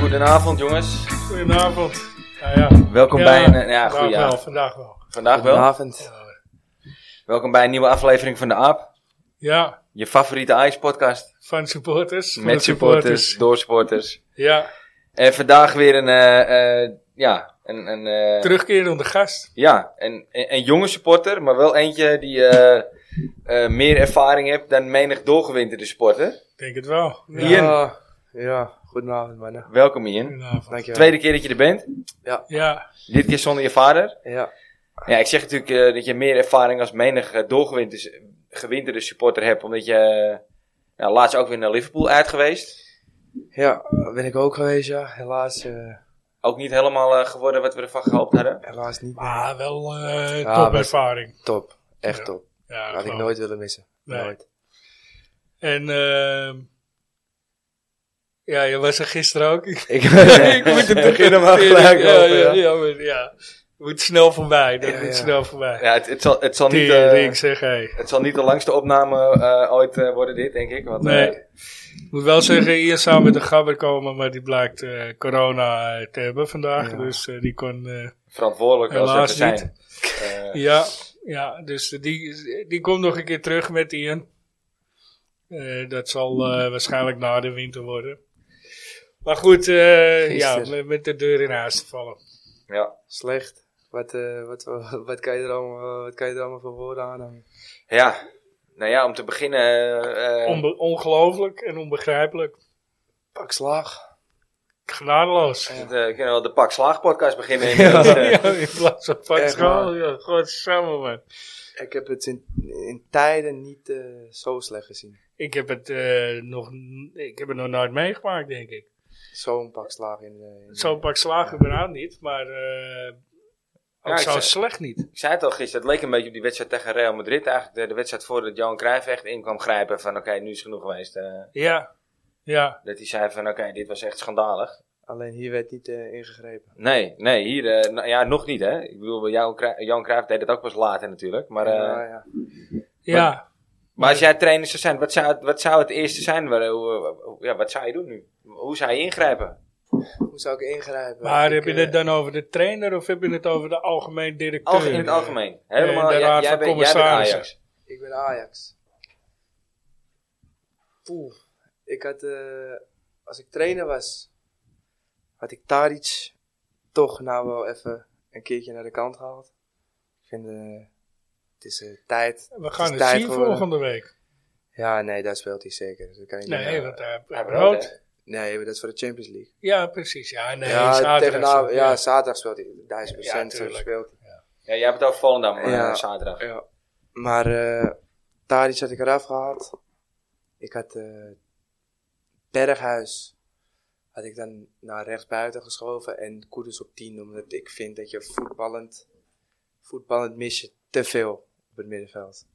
Goedenavond jongens. Goedenavond. Nou ja, Welkom bij een... eh, Ja, vandaag goeie, wel, ja. vandaag wel. Vandaag wel. Goedenavond. Welkom bij een nieuwe aflevering van de AAP. Ja, Je favoriete Ajax podcast. van supporters. van de Met supporters, door supporters. Ja, En vandaag weer een... eh, eh, ja, een... een eh, terugkerende gast. ja, een, een, een jonge supporter, maar wel eentje die eh, eh, meer ervaring heeft dan menig doorgewinterde supporter. Ik Denk het wel. Ja. Ian. Ja, ja, goedenavond mannen. Welkom Ian. Goedenavond. Dankjewel. Tweede keer dat je er bent. Ja, Dit keer zonder je vader. Ja, Ja, ik zeg natuurlijk eh, dat je meer ervaring als menig eh, doorgewinterde gewinterde supporter hebt. Omdat je eh, nou, laatst ook weer naar Liverpool uit geweest. ja, ben ik ook geweest, ja. Helaas, eh, Ook niet helemaal eh, geworden wat we ervan gehoopt hadden. helaas niet. maar wel eh Ah, Ja, topervaring. Top, echt Ja. top. Ja, Had ik gewoon. nooit willen missen. Nee. Nooit. En ehm ja, je was er gisteren ook. ik Ik, moet het beginnen maar gelijk ja, lopen, ja, ja. ja, maar, ja. Moet snel voorbij. Dat Ja, moet ja. snel voorbij. Ja, het, het zal, het, zal niet, eh, Tering, zeg hé. het zal niet de langste opname eh, ooit eh, worden dit, denk ik. Want, eh, Nee. Ik moet wel zeggen, Ian zou met een gabber komen, maar die blijkt eh, corona eh, te hebben vandaag. Ja. Dus eh, die kon. eh, verantwoordelijk als het er Helaas niet. zijn. Eh, ja, ja, dus die, die komt nog een keer terug met Ian. Eh, dat zal eh, waarschijnlijk na de winter worden. Maar goed, eh, ja, Gisteren. met, met de deur in huis te vallen. ja. Slecht. Wat, eh, wat, wat, kan je er allemaal, eh, wat kan je er allemaal voor woorden aan eh? hangen? ja, nou ja, om te beginnen. eh, eh, Onbe- ongelooflijk en onbegrijpelijk. Pak slaag. Genadeloos. we eh, kunnen wel de Pak Slaag podcast beginnen. Ja, inmiddels, eh. in plaats van van Echt school. waar. Ja, godsamme man. Ik heb het in, in tijden niet eh, zo slecht gezien. Ik heb het, eh, nog, n- ik heb het nog nooit meegemaakt, denk ik. Zo'n pak slaag in, eh, in Zo'n pak slaag überhaupt niet, maar eh Ja, ook ik zo zeg- slecht niet. Ik zei het al gisteren, het leek een beetje op die wedstrijd tegen Real Madrid. Eigenlijk de, de wedstrijd voordat Johan Cruijff echt in kwam grijpen van oké, nu is genoeg geweest. eh, Ja, ja, dat hij zei van oké, dit was echt schandalig. Alleen hier werd niet eh, ingegrepen. Nee, nee, hier, eh, nou ja, nog niet hè. Ik bedoel, Johan Cruijff, Johan Cruijff deed het ook pas later natuurlijk. Maar, eh, Ja, ja. ja. maar als jij trainer zou zijn, wat zou, het- wat zou het eerste zijn? Waar- hoe- hoe- ja, wat zou je doen nu? Hoe zou je ingrijpen? Hoe zou ik ingrijpen? Maar Ik, heb je eh, het dan over de trainer of heb je het over de algemeen directeur? Alge- in het algemeen. eh, Nee, Helemaal, de jij, raad jij van bent, jij bent commissarissen. Ajax. Ik ben Ajax. Poeh. Ik had, eh, als ik trainer was, had ik Taric toch nou wel even een keertje naar de kant gehaald. Ik vind, eh, het is eh, tijd. We gaan Het het, is tijd zien geworden. volgende week. Ja, nee, daar speelt hij zeker. Dus dat kan ik Nee, niet, eh, want hij Hij hij rood, hè? rood. nee, maar dat is voor de Champions League. Ja, precies. Ja, nee, ja, zaterdag tegenaan- zo. ja, zaterdag speelt hij. Duizend procent Ja, tuurlijk. speelt hij. Ja, jij hebt het over Volendam eh, Ja. zaterdag. Ja. Maar eh Tadic had ik eraf gehaald. Ik had eh, Berghuis had ik dan naar rechtsbuiten geschoven en Koeders op 10. Omdat ik vind dat je voetballend, voetballend mis je te veel op het middenveld.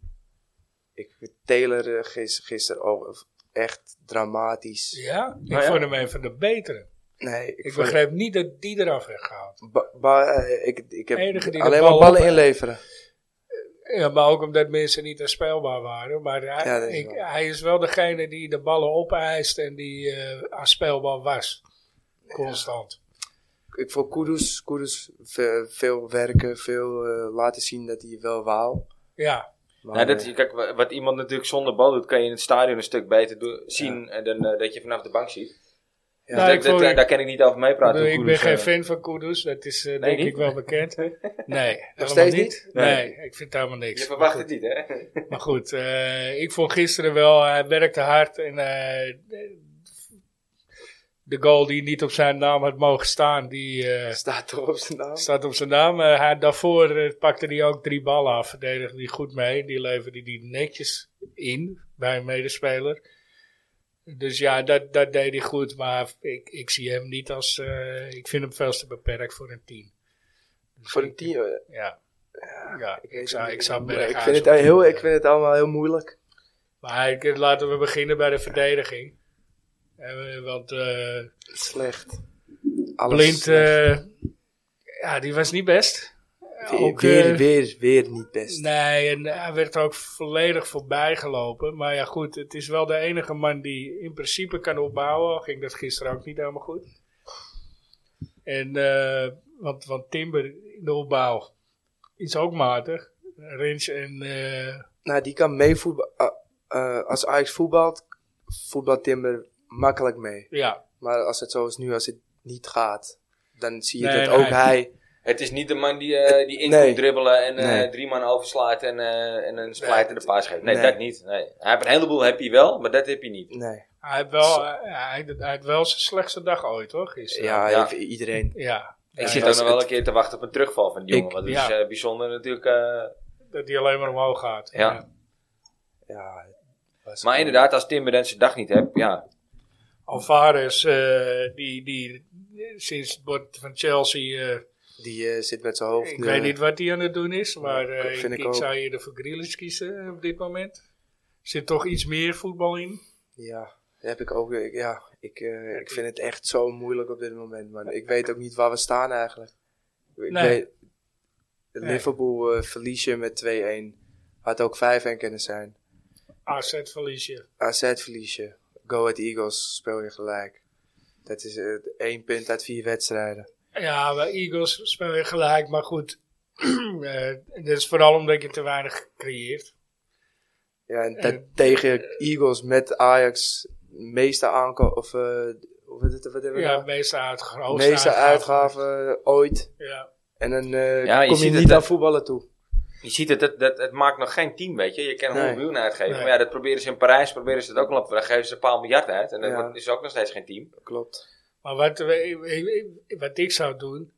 Ik vind Taylor eh, gis- gisteren ook echt dramatisch. Ja, ik Nou ja. vond hem een van de betere. Nee, ik, Ik vond- begrijp niet dat die eraf werd gehaald. ba- ba- eh, ik, ik heb Enige die de alleen bal maar ballen op- inleveren. Ja, maar ook omdat mensen niet aanspeelbaar waren. Maar hij, Ja, dat is ik- waar. hij is wel degene die de ballen opeist en die eh, aanspeelbaar was. Constant. ik vond Kudus, Kudus ve- veel werken, veel eh, laten zien dat hij wel wou. Ja, Maar, Nou, dat, eh, is- kijk, wa- wat iemand natuurlijk zonder bal doet, kan je in het stadion een stuk beter do- zien eh, dan eh, dat je vanaf de bank ziet. Ja. Dus Nou, dat- ik vond- dat- daar kan ik niet over meepraten. ik, bedoel, hoe ik goed ben het, geen eh, fan van Kudus, dat is eh, denk niet? ik wel bekend. Nee, helemaal steeds niet? Nee. Nee. ik vind helemaal niks. Je verwacht het niet, hè? Maar goed, eh, ik vond gisteren wel, hij werkte hard en eh, de goal die niet op zijn naam had mogen staan, die... eh, staat toch op zijn naam. Staat op zijn naam. Eh, hij, daarvoor eh, pakte hij ook drie ballen af. Verdedigde hij goed mee. Die leverde die netjes in bij een medespeler. Dus ja, dat, dat deed hij goed. Maar ik, ik zie hem niet als. eh, ik vind hem veel te beperkt voor een team. Voor een team. eh, Ja. Ja, ik, weet zou, het ik niet. zou eh, ik Berghuis vind het op- heel, Ik vind het allemaal heel moeilijk. Maar ik- laten we beginnen bij de verdediging. Eh, want eh, Slecht. Alles Blind, slecht. eh, ja, die was niet best. weer, Ook, weer, eh, weer, weer niet best. Nee, en hij werd ook volledig voorbij gelopen. Maar ja, goed, het is wel de enige man die in principe kan opbouwen. Al Ging dat gisteren ook niet helemaal goed. En, eh, want, want Timber in de opbouw is ook matig. Rens en eh, Nou, die kan mee voetballen. als Ajax voetbalt, voetbalt Timber makkelijk mee. ja, Maar als het zo is nu, als het niet gaat, dan zie je Nee, dat ook nee. hij. Het is niet de man die, eh, die in Nee. komt dribbelen en eh, Nee. drie man overslaat en, eh, en een splijtende paas geeft. Nee, nee. dat niet. Nee. Hij heeft een heleboel heb je wel, maar dat heb je niet. Nee. hij heeft wel, hij, hij heeft wel zijn slechtste dag ooit, hoor, gisteren. Ja, ja. even iedereen. Ja, Ik Ja, zit ja. ook nog wel een keer te wachten op een terugval van die Ik- jongen. Want dat ja. is eh, bijzonder natuurlijk. eh, dat hij alleen maar omhoog gaat. Ja. Ja, het was maar gewoon- inderdaad, als Timber dan zijn dag niet hebt, ja. Alvarez, eh, die, die sinds het bord van Chelsea, eh, Die eh, zit met zijn hoofd. ik eh, weet niet wat die aan het doen is, maar eh, dat ik, vind ik ik ook. zou hier de voor Grealish kiezen eh, op dit moment. Er zit toch iets meer voetbal in. Ja, dat heb ik ook. weer. Ik- Ja, ik, eh, ik vind het echt zo moeilijk op dit moment, man. Ik weet ook niet waar we staan eigenlijk. Ik Nee. weet, Nee. Liverpool eh verlies je met 2-1. Had ook 5-1 kunnen zijn. AZ verlies je. AZ verlies je. Go Ahead Eagles speel je gelijk. Dat is eh, één punt uit vier wedstrijden. Ja, bij Eagles speel je gelijk, maar goed. eh, dat is vooral omdat je te weinig creëert. Ja, en dat Eh. tegen Eagles met Ajax meeste aankoop... Of eh, hoe heet het- wat hebben we Ja, nou? de meeste uitgaven. Meeste uitgaven eh, ooit. Ja. En dan eh, Ja, je kom je, ziet het, niet hè. aan voetballen toe. Je ziet het, het, het, het maakt nog geen team, weet je. Je kan Nee. 100 miljoen uitgeven. Nee. Maar ja, dat proberen ze in Parijs, proberen ze dat ook al op. Dan geven ze een paar miljard uit. En dan Ja. wordt, is er ook nog steeds geen team. Klopt. Maar wat, we- wat ik zou doen,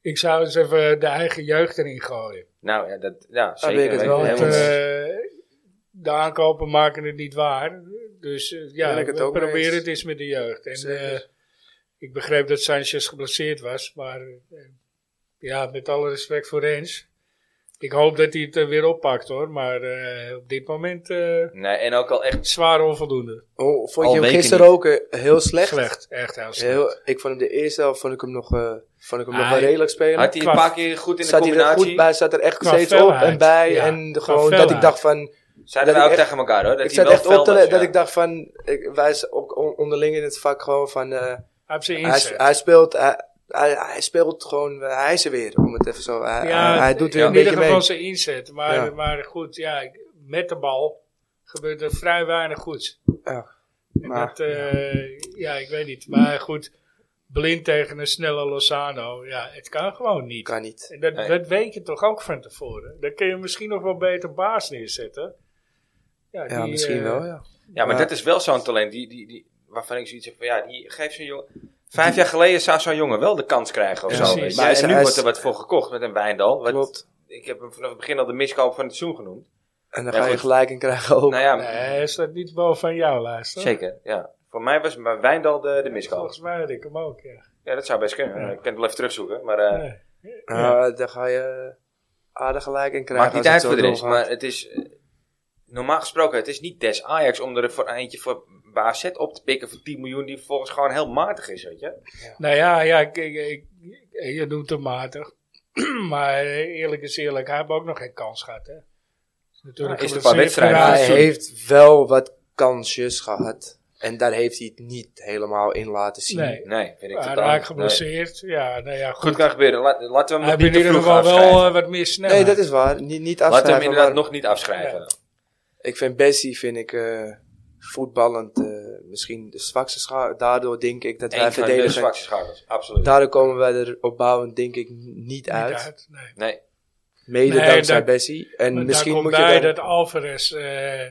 ik zou eens even de eigen jeugd erin gooien. Nou ja, dat, ja zeker. ben ik het weet wel ik mee Want helemaal eens. niet. eh, de aankopen maken het niet waar. Dus eh, ja, Ben ik het we ook mee proberen eens. het eens met de jeugd. En Zeker. eh, ik begreep dat Sanchez geblesseerd was, maar eh, ja, met alle respect voor Rens. Ik hoop dat hij het eh, weer oppakt hoor, maar eh, op dit moment eh, Nee, en ook al echt zwaar onvoldoende. Oh, vond Al je hem weken gisteren ook eh, heel slecht? Slecht, echt heel slecht. Heel, ik vond hem de eerste helft vond ik hem nog, eh, vond ik hem nog Ah, wel redelijk spelen. Had hij een Qua- paar keer goed in de zat hij er combinatie. goed bij, zat er echt Qua steeds op felheid. en bij. Ja, en de- qua gewoon dat ik felheid. dacht van, Zeiden Dat wij ook ik echt- tegen elkaar hoor. Dat ik hij zat wel echt fel op te was, le- dat ja. ik dacht van, ik, wij zijn ook on- onderling in het vak gewoon van, eh, Hij heeft zijn hij, inzet. hij speelt, hij, hij, hij speelt gewoon, eh, hij is er weer, om het even zo, hij, Ja, hij- Eh, hij doet weer ja. een in ieder beetje geval mee. zijn inzet. Maar, Ja. maar goed, ja, ik- met de bal gebeurt er vrij weinig goeds. Ja. En Maar- dat, eh, ja. ik weet niet. Maar goed, blind tegen een snelle Lozano, ja, het kan gewoon niet. Kan niet. En dat, Nee. dat weet je toch ook van tevoren. Dan kun je misschien nog wel beter baas neerzetten. Ja, die, misschien eh, wel, ja. Ja, maar Ja. dat is wel zo'n talent. Die, die, die, waarvan ik zoiets heb van ja, die geeft zo'n jongen. Vijf jaar geleden zou zo'n jongen wel de kans krijgen of zo. Ja, precies. weet je. Maar hij is- en nu hij wordt er is- wat voor gekocht met een Wijndal. Wat, Klopt. Ik heb hem vanaf het begin al de miskoop van het seizoen genoemd. En dan Ja, ga je goed. gelijk in krijgen ook. Nou ja, Nee, staat niet boven aan jouw lijst. hoor. zeker. Ja. Voor mij was bij Wijndal de, de miskoop. Volgens mij had ik hem ook, ja. Ja, dat zou best kunnen. Ja. Ik kan het wel even terugzoeken. Maar eh Nee. Ja, Eh, dan ga je aardig gelijk in krijgen. maakt niet uit als het zo voor de rest. doorgaat. Maar het is eh, normaal gesproken, het is niet des Ajax om er voor eentje voor bij AZ op te pikken voor 10 miljoen die volgens gewoon heel matig is, weet je. Nou ja, ja ik, ik, ik- ik- je noemt hem matig. maar eerlijk is eerlijk, hij heeft ook nog geen kans gehad. Hè? Is Natuurlijk Ja, is er een een paar wedstrijden. Maar hij Ja, sorry. heeft wel wat kansjes gehad. En daar heeft hij het niet helemaal in laten zien. Nee, Nee, vind ik hij totaal raakt niet. geblesseerd. Ja, nou ja, Nee. Goed goed. kan gebeuren. Laat- laten we hem hij nog niet bent in te vroeg ieder geval afschrijven. wel eh, wat meer snel. Nee, dat is waar. Niet, niet laten we hem afschrijven. inderdaad maar nog niet afschrijven. Ja. Ik vind Bessie, vind ik, eh, voetballend eh, misschien de zwakste schaar. Daardoor denk ik dat wij Eén van de verdedigen. zwakste schakels, absoluut. Daardoor komen wij er opbouwend denk ik niet uit. Nee. nee, Mede Nee, dankzij daar- Bessie. En Maar misschien daar komt moet je bij dan, dat Alvarez eh,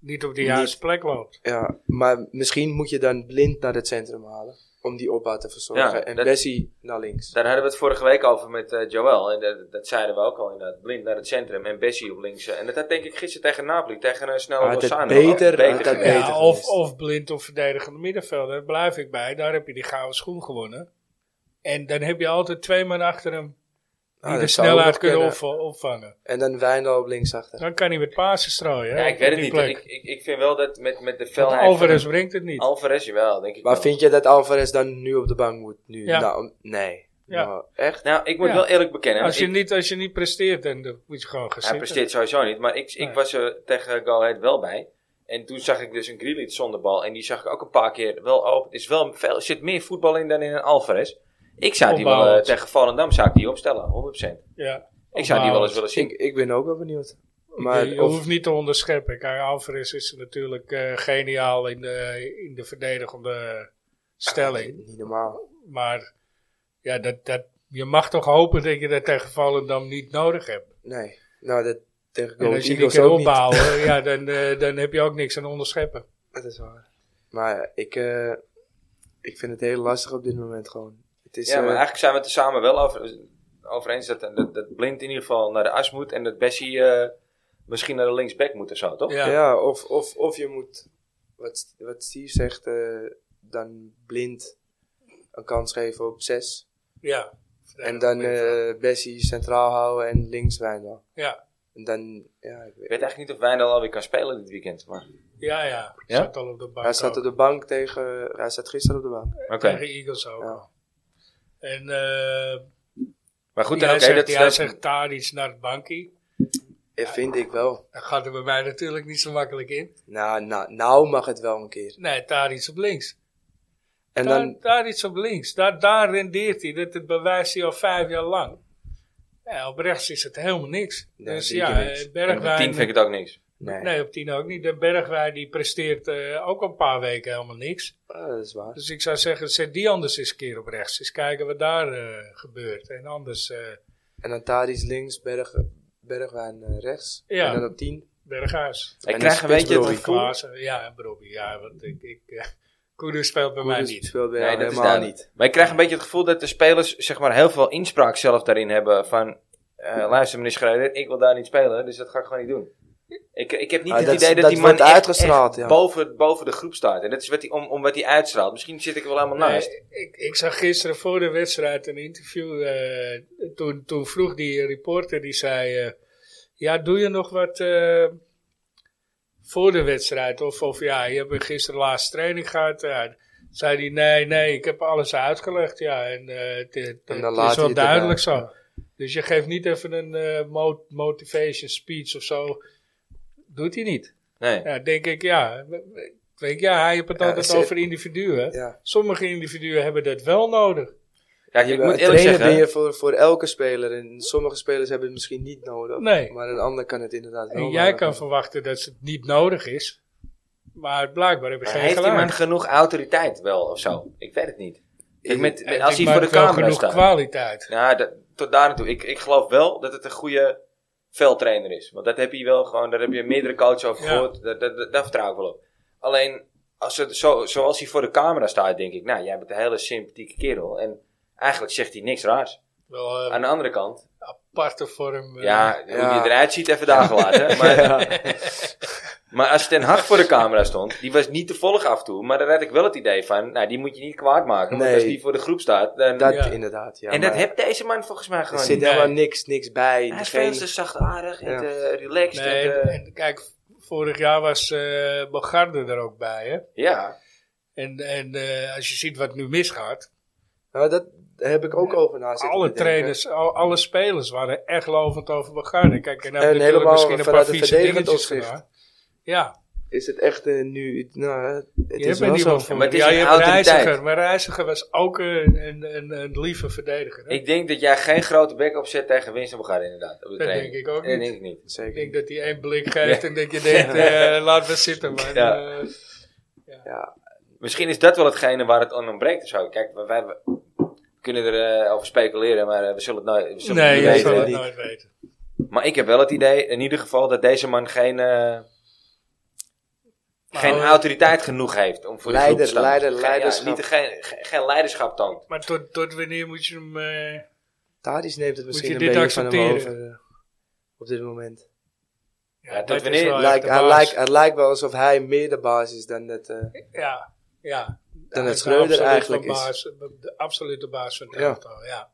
niet op de Niet. juiste plek loopt. ja, maar misschien moet je dan blind naar het centrum halen. Om die opbouw te verzorgen. Ja, en dat- Bessie naar links. daar hadden we het vorige week over met eh, Joël. En dat, dat zeiden we ook al inderdaad. Blind naar het centrum en Bessie op links. eh, En dat had denk ik gisteren tegen Napoli, tegen een snelle Had het Lozano. beter- had dat gedaan. beter Ja, of, geweest. of blind of verdedigende middenvelder, daar blijf ik bij. Daar heb je die gouden schoen gewonnen. En dan heb je altijd twee man achter hem die Ah, de dat zou ook snelheid nog kunnen, kunnen. opva- opvangen. En dan Wijndal op linksachter. Dan kan hij met Pasen strooien. hè, Ja, ik weet het op niet. die Ik, plek. ik, ik vind wel dat met, met de Want felheid... van- Alvarez brengt het niet. Alvarez, jawel, denk ik Maar wel. vind je dat Alvarez dan nu op de bank moet? Nu? Ja. Nou, nee. Ja. Nou, echt? Nou, ik moet Ja. wel eerlijk bekennen. als, je ik- niet, als je niet presteert, dan dan moet je gewoon hij gaan zitten. presteert sowieso niet. Maar ik, ik Nee. was er tegen Go Ahead wel bij. En toen zag ik dus een Grealish zonder bal. En die zag ik ook een paar keer wel open. Er is wel veel, er zit meer voetbal in dan in een Alvarez. Ik zou die wel eh, Opbouwend. tegen Volendam zou ik die opstellen, 100%. Ja. Ik zou die wel eens Opbouwend. willen zien. Ik, ik ben ook wel benieuwd. je Maar je of, hoeft niet te onderscheppen. Kijk, Alvarez is natuurlijk eh, geniaal in de, in de verdedigende stelling. niet normaal. Maar ja, dat, dat, je mag toch hopen dat je dat tegen Volendam niet nodig hebt. Nee. Nou, dat tegen en Go als je die Eagles kan ook niet. opbouwen, ja, dan, eh, dan heb je ook niks aan onderscheppen. Dat is waar. Maar ik, eh, ik vind het heel lastig op dit moment gewoon. Het is, ja, maar eh, eigenlijk zijn we het er samen wel over, over eens dat, eh, dat, dat Blind in ieder geval naar de as moet en dat Bessie eh, misschien naar de linksback moet of zo, toch? Ja. ja. of, of, of je moet, wat, St- wat Steve zegt, eh, dan blind een kans geven op zes. Ja. en dan eh, Bessie centraal houden en links Wijndal. ja. En dan, ja, ik weet- Ik weet eigenlijk niet of Wijndal alweer kan spelen dit weekend. Maar... Ja, ja. Ja? Zat al op de bank. hij staat ook. op de bank tegen, hij staat gisteren op de bank. Oké. Tegen Eagles ook. Ja. al. En eh Maar goed, dan jij oké. zegt, dat, jij dat- zegt daar iets naar het bankie. Eh, vind ik wel. Dat gaat er bij mij natuurlijk niet zo makkelijk in. Nou, nou, nou mag het wel een keer. Nee, daar iets op links. En daar, dan, daar iets op links. Daar, daar rendeert hij. Dat, dat bewijst hij al vijf jaar lang. Ja, op rechts is het helemaal niks. Ja, dus zeker ja, niks. eh, en op de Bergwijn... tien vind ik het ook niks. nee, Nee, op tien ook niet. De Bergwijn die presteert eh, ook al een paar weken helemaal niks. Ah, dat is waar. Dus ik zou zeggen, zet die anders eens een keer op rechts. Eens kijken wat daar eh, gebeurt. En anders eh En dan Tadic links, Berg, Bergwijn eh, rechts. Ja. En dan op tien. Berghuis. Ik een krijg een beetje het spitsbroer. gevoel... Klaassen. Ja, en Brobbey. Ja, want ik... ik eh, Kudu speelt bij mij Koeders niet. speelt bij Nee, jou dat is helemaal duidelijk. niet. Maar ik krijg een beetje het gevoel dat de spelers zeg maar, heel veel inspraak zelf daarin hebben. Van, eh, luister meneer Schreuder, ik wil daar niet spelen, dus dat ga ik gewoon niet doen. Ik, ik heb niet Ah, het dat- idee dat, dat die man wordt echt- uitgestraald, echt ja. boven, boven de groep staat. En dat is wat die, om, om wat hij uitstraalt. Misschien zit ik er wel helemaal naast. Nee, ik, ik zag gisteren voor de wedstrijd een interview. eh, toen, toen vroeg die reporter, die zei... eh, ja, doe je nog wat eh, voor de wedstrijd? Of, of ja, je hebt gisteren laatste training gehad. Ja, zei hij, nee, nee, ik heb alles uitgelegd. Ja, en eh, het, het- dan het laat is hij wel het erbij. duidelijk zo. Dus je geeft niet even een eh, mo- motivation speech of zo. Doet hij niet. Nee. Ja, denk ik, ja. Weet je, ja, hij heeft het Ja, altijd ze- over individuen. Ja. Sommige individuen hebben dat wel nodig. Ja, ik moet eerlijk trainen zeggen... ben je voor, voor elke speler. En sommige spelers hebben het misschien niet nodig. Nee. Maar een ander kan het inderdaad wel. En jij nodig kan hebben. verwachten dat het niet nodig is. Maar blijkbaar heb ik Maar geen heeft die man gelijk. genoeg autoriteit wel of zo? Ik weet het niet. Ik, met, met- Ik als hij maak voor de wel camera genoeg staat. kwaliteit. Nou, dat- tot daar naartoe. Ik, ik geloof wel dat het een goede veldtrainer is. Want dat heb je wel gewoon, daar heb je meerdere coaches over Ja. gehoord. Dat, dat, dat- daar vertrouw ik wel op. Alleen, als het, zo, zoals hij voor de camera staat, denk ik, nou, jij bent een hele sympathieke kerel. En eigenlijk zegt hij niks raars. Wel eh, Aan de andere kant, aparte vorm. eh, ja, ja. hoe je eruit ziet, even daar gelaten. Maar, maar als Ten Hag voor de camera stond, die was niet te volgen af en toe. Maar dan had ik wel het idee van, nou, die moet je niet kwaad maken. Want Nee. als die voor de groep staat, dan... Dat Ja. inderdaad, ja. en dat maar heeft deze man volgens mij Er gewoon zit niet. Nee. helemaal niks, niks bij. Hij is Geen- veel te zachtaardig en Ja. te relaxed. nee, en te- en kijk, vorig jaar was eh Bogarde er ook bij. Hè? ja. En, en eh, als je ziet wat nu misgaat. Nou, dat daar heb ik ook over na zitten Alle te denken. trainers, al- alle spelers waren echt lovend over Bogarde. Kijk, en, hij heeft En natuurlijk helemaal misschien een vanuit paar het vieze verdedigend dingetjes opzicht. gedaan. Ja, Is het echt eh, nu... Nou, het Je is hebt er wel zo. niemand voor. voor. Maar het is ja, je een hebt autoriteit. Reiziger. Maar Reiziger was ook een, een, een, een lieve verdediger. Hè? Ik, Ik denk dat jij geen grote bek opzet tegen Winston Bogarde inderdaad. Op de Dat training. denk ik ook Dat niet. denk ik niet. Zeker. denk dat hij één blik geeft en dat je denkt, eh, laat maar zitten. Maar, Ja. eh, Ja, Misschien is dat wel hetgene waar het aan ontbreekt of zo. Kijk, wij, wij kunnen er eh, over speculeren, maar eh, we zullen het nooit we zullen nee, het je niet weet zal weten. het ik. nooit weten. Maar ik heb wel het idee, in ieder geval, dat deze man geen, eh, Maar, geen Nou, eh, autoriteit genoeg heeft om voor de Leider, groep te staan. leider, Geen- leiderschap. Ja, niet, geen, geen- geen leiderschap toont. Maar tot, tot wanneer moet je hem... eh, Tadic neemt het misschien je een dit beetje van hem accepteren? over. eh, op dit moment. Ja, tot dat is wanneer? wel echt Lijkt- de hij baas. lijkt- Het lijkt wel alsof hij meer de baas is dan dat... eh, Ja, ja. Dan Ja, het de Schreuder absolute eigenlijk is. baas, De absolute baas van het Ja. elftal, ja.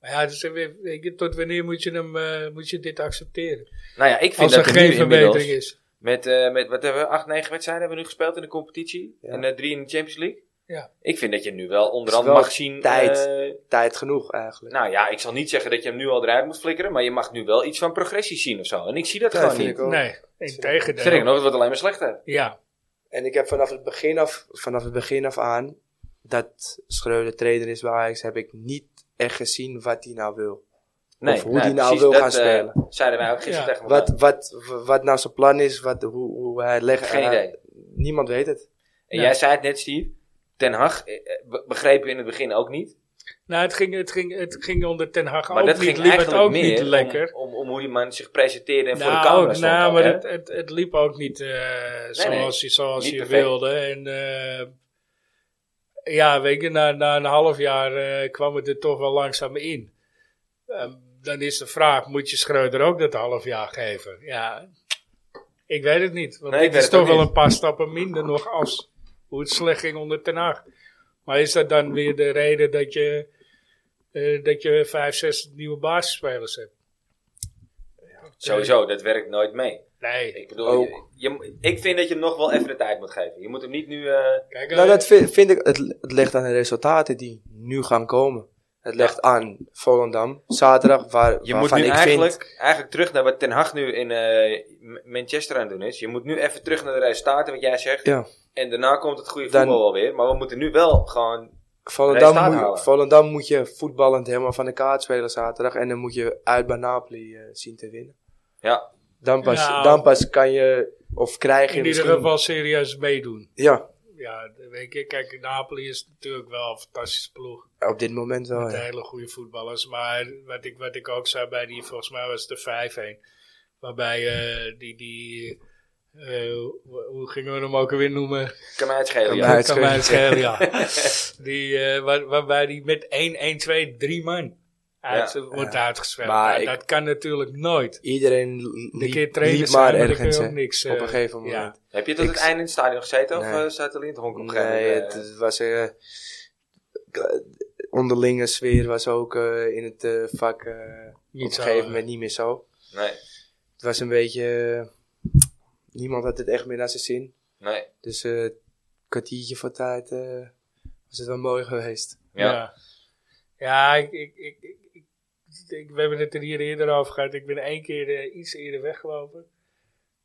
Maar ja, dus, weet je, tot wanneer moet je, hem, eh, moet je dit accepteren? Nou ja, ik vind Als er dat er nu geen verbetering inmiddels... is. Met, eh, met, wat hebben we, acht, negen wedstrijden hebben we nu gespeeld in de competitie. Ja. En eh, drie in de Champions League. Ja. Ik vind dat je nu wel Het onder is andere wel mag zien... tijd. eh, tijd genoeg eigenlijk. nou ja, ik zal niet zeggen dat je hem nu al eruit moet flikkeren. Maar je mag nu wel iets van progressie zien of zo. En ik zie dat Ja, gewoon vind niet. ik ook. Nee, in Sterker tegendeel. nog, het wordt alleen maar slechter. Ja, En ik heb vanaf het begin af, vanaf het begin af aan dat Schreuder trainer is bij Ajax, heb ik niet echt gezien wat hij nou wil. Nee, Of hoe nee, die nou precies, wil dat, gaan eh, spelen. zeiden wij ook gisteren Ja. tegen elkaar. Wat, wat, wat nou zijn plan is, wat, hoe, hoe hij legt. Geen hij- idee. Niemand weet het. En Ja. jij zei het net, Steve. Ten Hag eh, eh, be- begrepen we in het begin ook niet. Nou, het ging, het ging, het ging onder Ten Hag Maar ook dat niet, ging liep het eigenlijk ook meer niet om- lekker. Om, om, hoe die man zich presenteerde en voor Nou, de camera ook- stond. nou, ook, maar hè. het, het, het liep ook niet eh, zoals je, zoals Niet je perfect. wilde. En, eh, ja, weet je, na, na een half jaar eh, kwam het er toch wel langzaam in. Ehm, dan is de vraag, moet je Schreuder ook dat half jaar geven? Ja, ik weet het niet. Want Nee, ik dit is weet het toch ook wel niet. een paar stappen minder nog als hoe het slecht ging onder Ten Hag. Maar is dat dan weer de reden dat je, eh, dat je vijf, zes nieuwe basisspelers hebt? Sowieso, dat werkt nooit mee. Nee. Ik bedoel, Ook. je, je- ik vind dat je hem nog wel even de tijd moet geven. Je moet hem niet nu... eh, Kijk, Nou, eh, dat vind, vind ik, het, het ligt aan de resultaten die nu gaan komen. Het ligt aan Volendam, zaterdag, waar, je moet waarvan nu ik vind... eigenlijk, eigenlijk terug naar wat Ten Hag nu in eh, M- Manchester aan het doen is. Je moet nu even terug naar de resultaten, wat jij zegt. Ja. En daarna komt het goede Dan- voetbal wel weer. Maar we moeten nu wel gewoon... Volendam, Resultaten moet, halen. Volendam moet je voetballend helemaal van de kaart spelen zaterdag. En dan moet je uit bij Napoli eh, zien te winnen. Ja, Dan pas, Nou. dan pas kan je, of krijg je in ieder misschien... geval serieus meedoen. Ja, Ja, weet je, kijk, Napoli is natuurlijk wel een fantastische ploeg. op dit moment wel. Met Oh, Ja. hele goede voetballers. Maar wat ik, wat ik ook zei bij die, volgens mij was het de 5-1. Waarbij eh, die, die eh, hoe- hoe gingen we hem ook alweer noemen? kan mij het schelen. Kan ja. mij- Dat kan mij het schelen. schelen, ja. Die, eh, waar- waarbij die met 1, 1, 2, 3 man uit, eh, Ja. wordt Ja. uitgespeeld. Maar Nou, ik- dat kan natuurlijk nooit. Iedereen li- De liep, keer trainen liep zijn, maar maar dan kun ergens je hè, ook niks. op eh, een gegeven ja. moment. Heb je tot Ik- het einde in het stadion gezeten? Of Nee. eh, zat er in het honk op een gegeven Nee, moment, het, eh? het was... eh, k- onderlinge sfeer was ook eh, in het eh, vak eh, Niet op een zo, gegeven eh. moment niet meer zo. Nee, Het was een beetje... eh, niemand had het echt meer naar zijn zin. nee. Dus eh, een kwartiertje voor tijd eh, was het wel mooi geweest. Ja. Ja, ja ik, ik, ik, ik, ik- ik- we hebben het er hier eerder over gehad. Ik ben één keer eh, iets eerder weggelopen.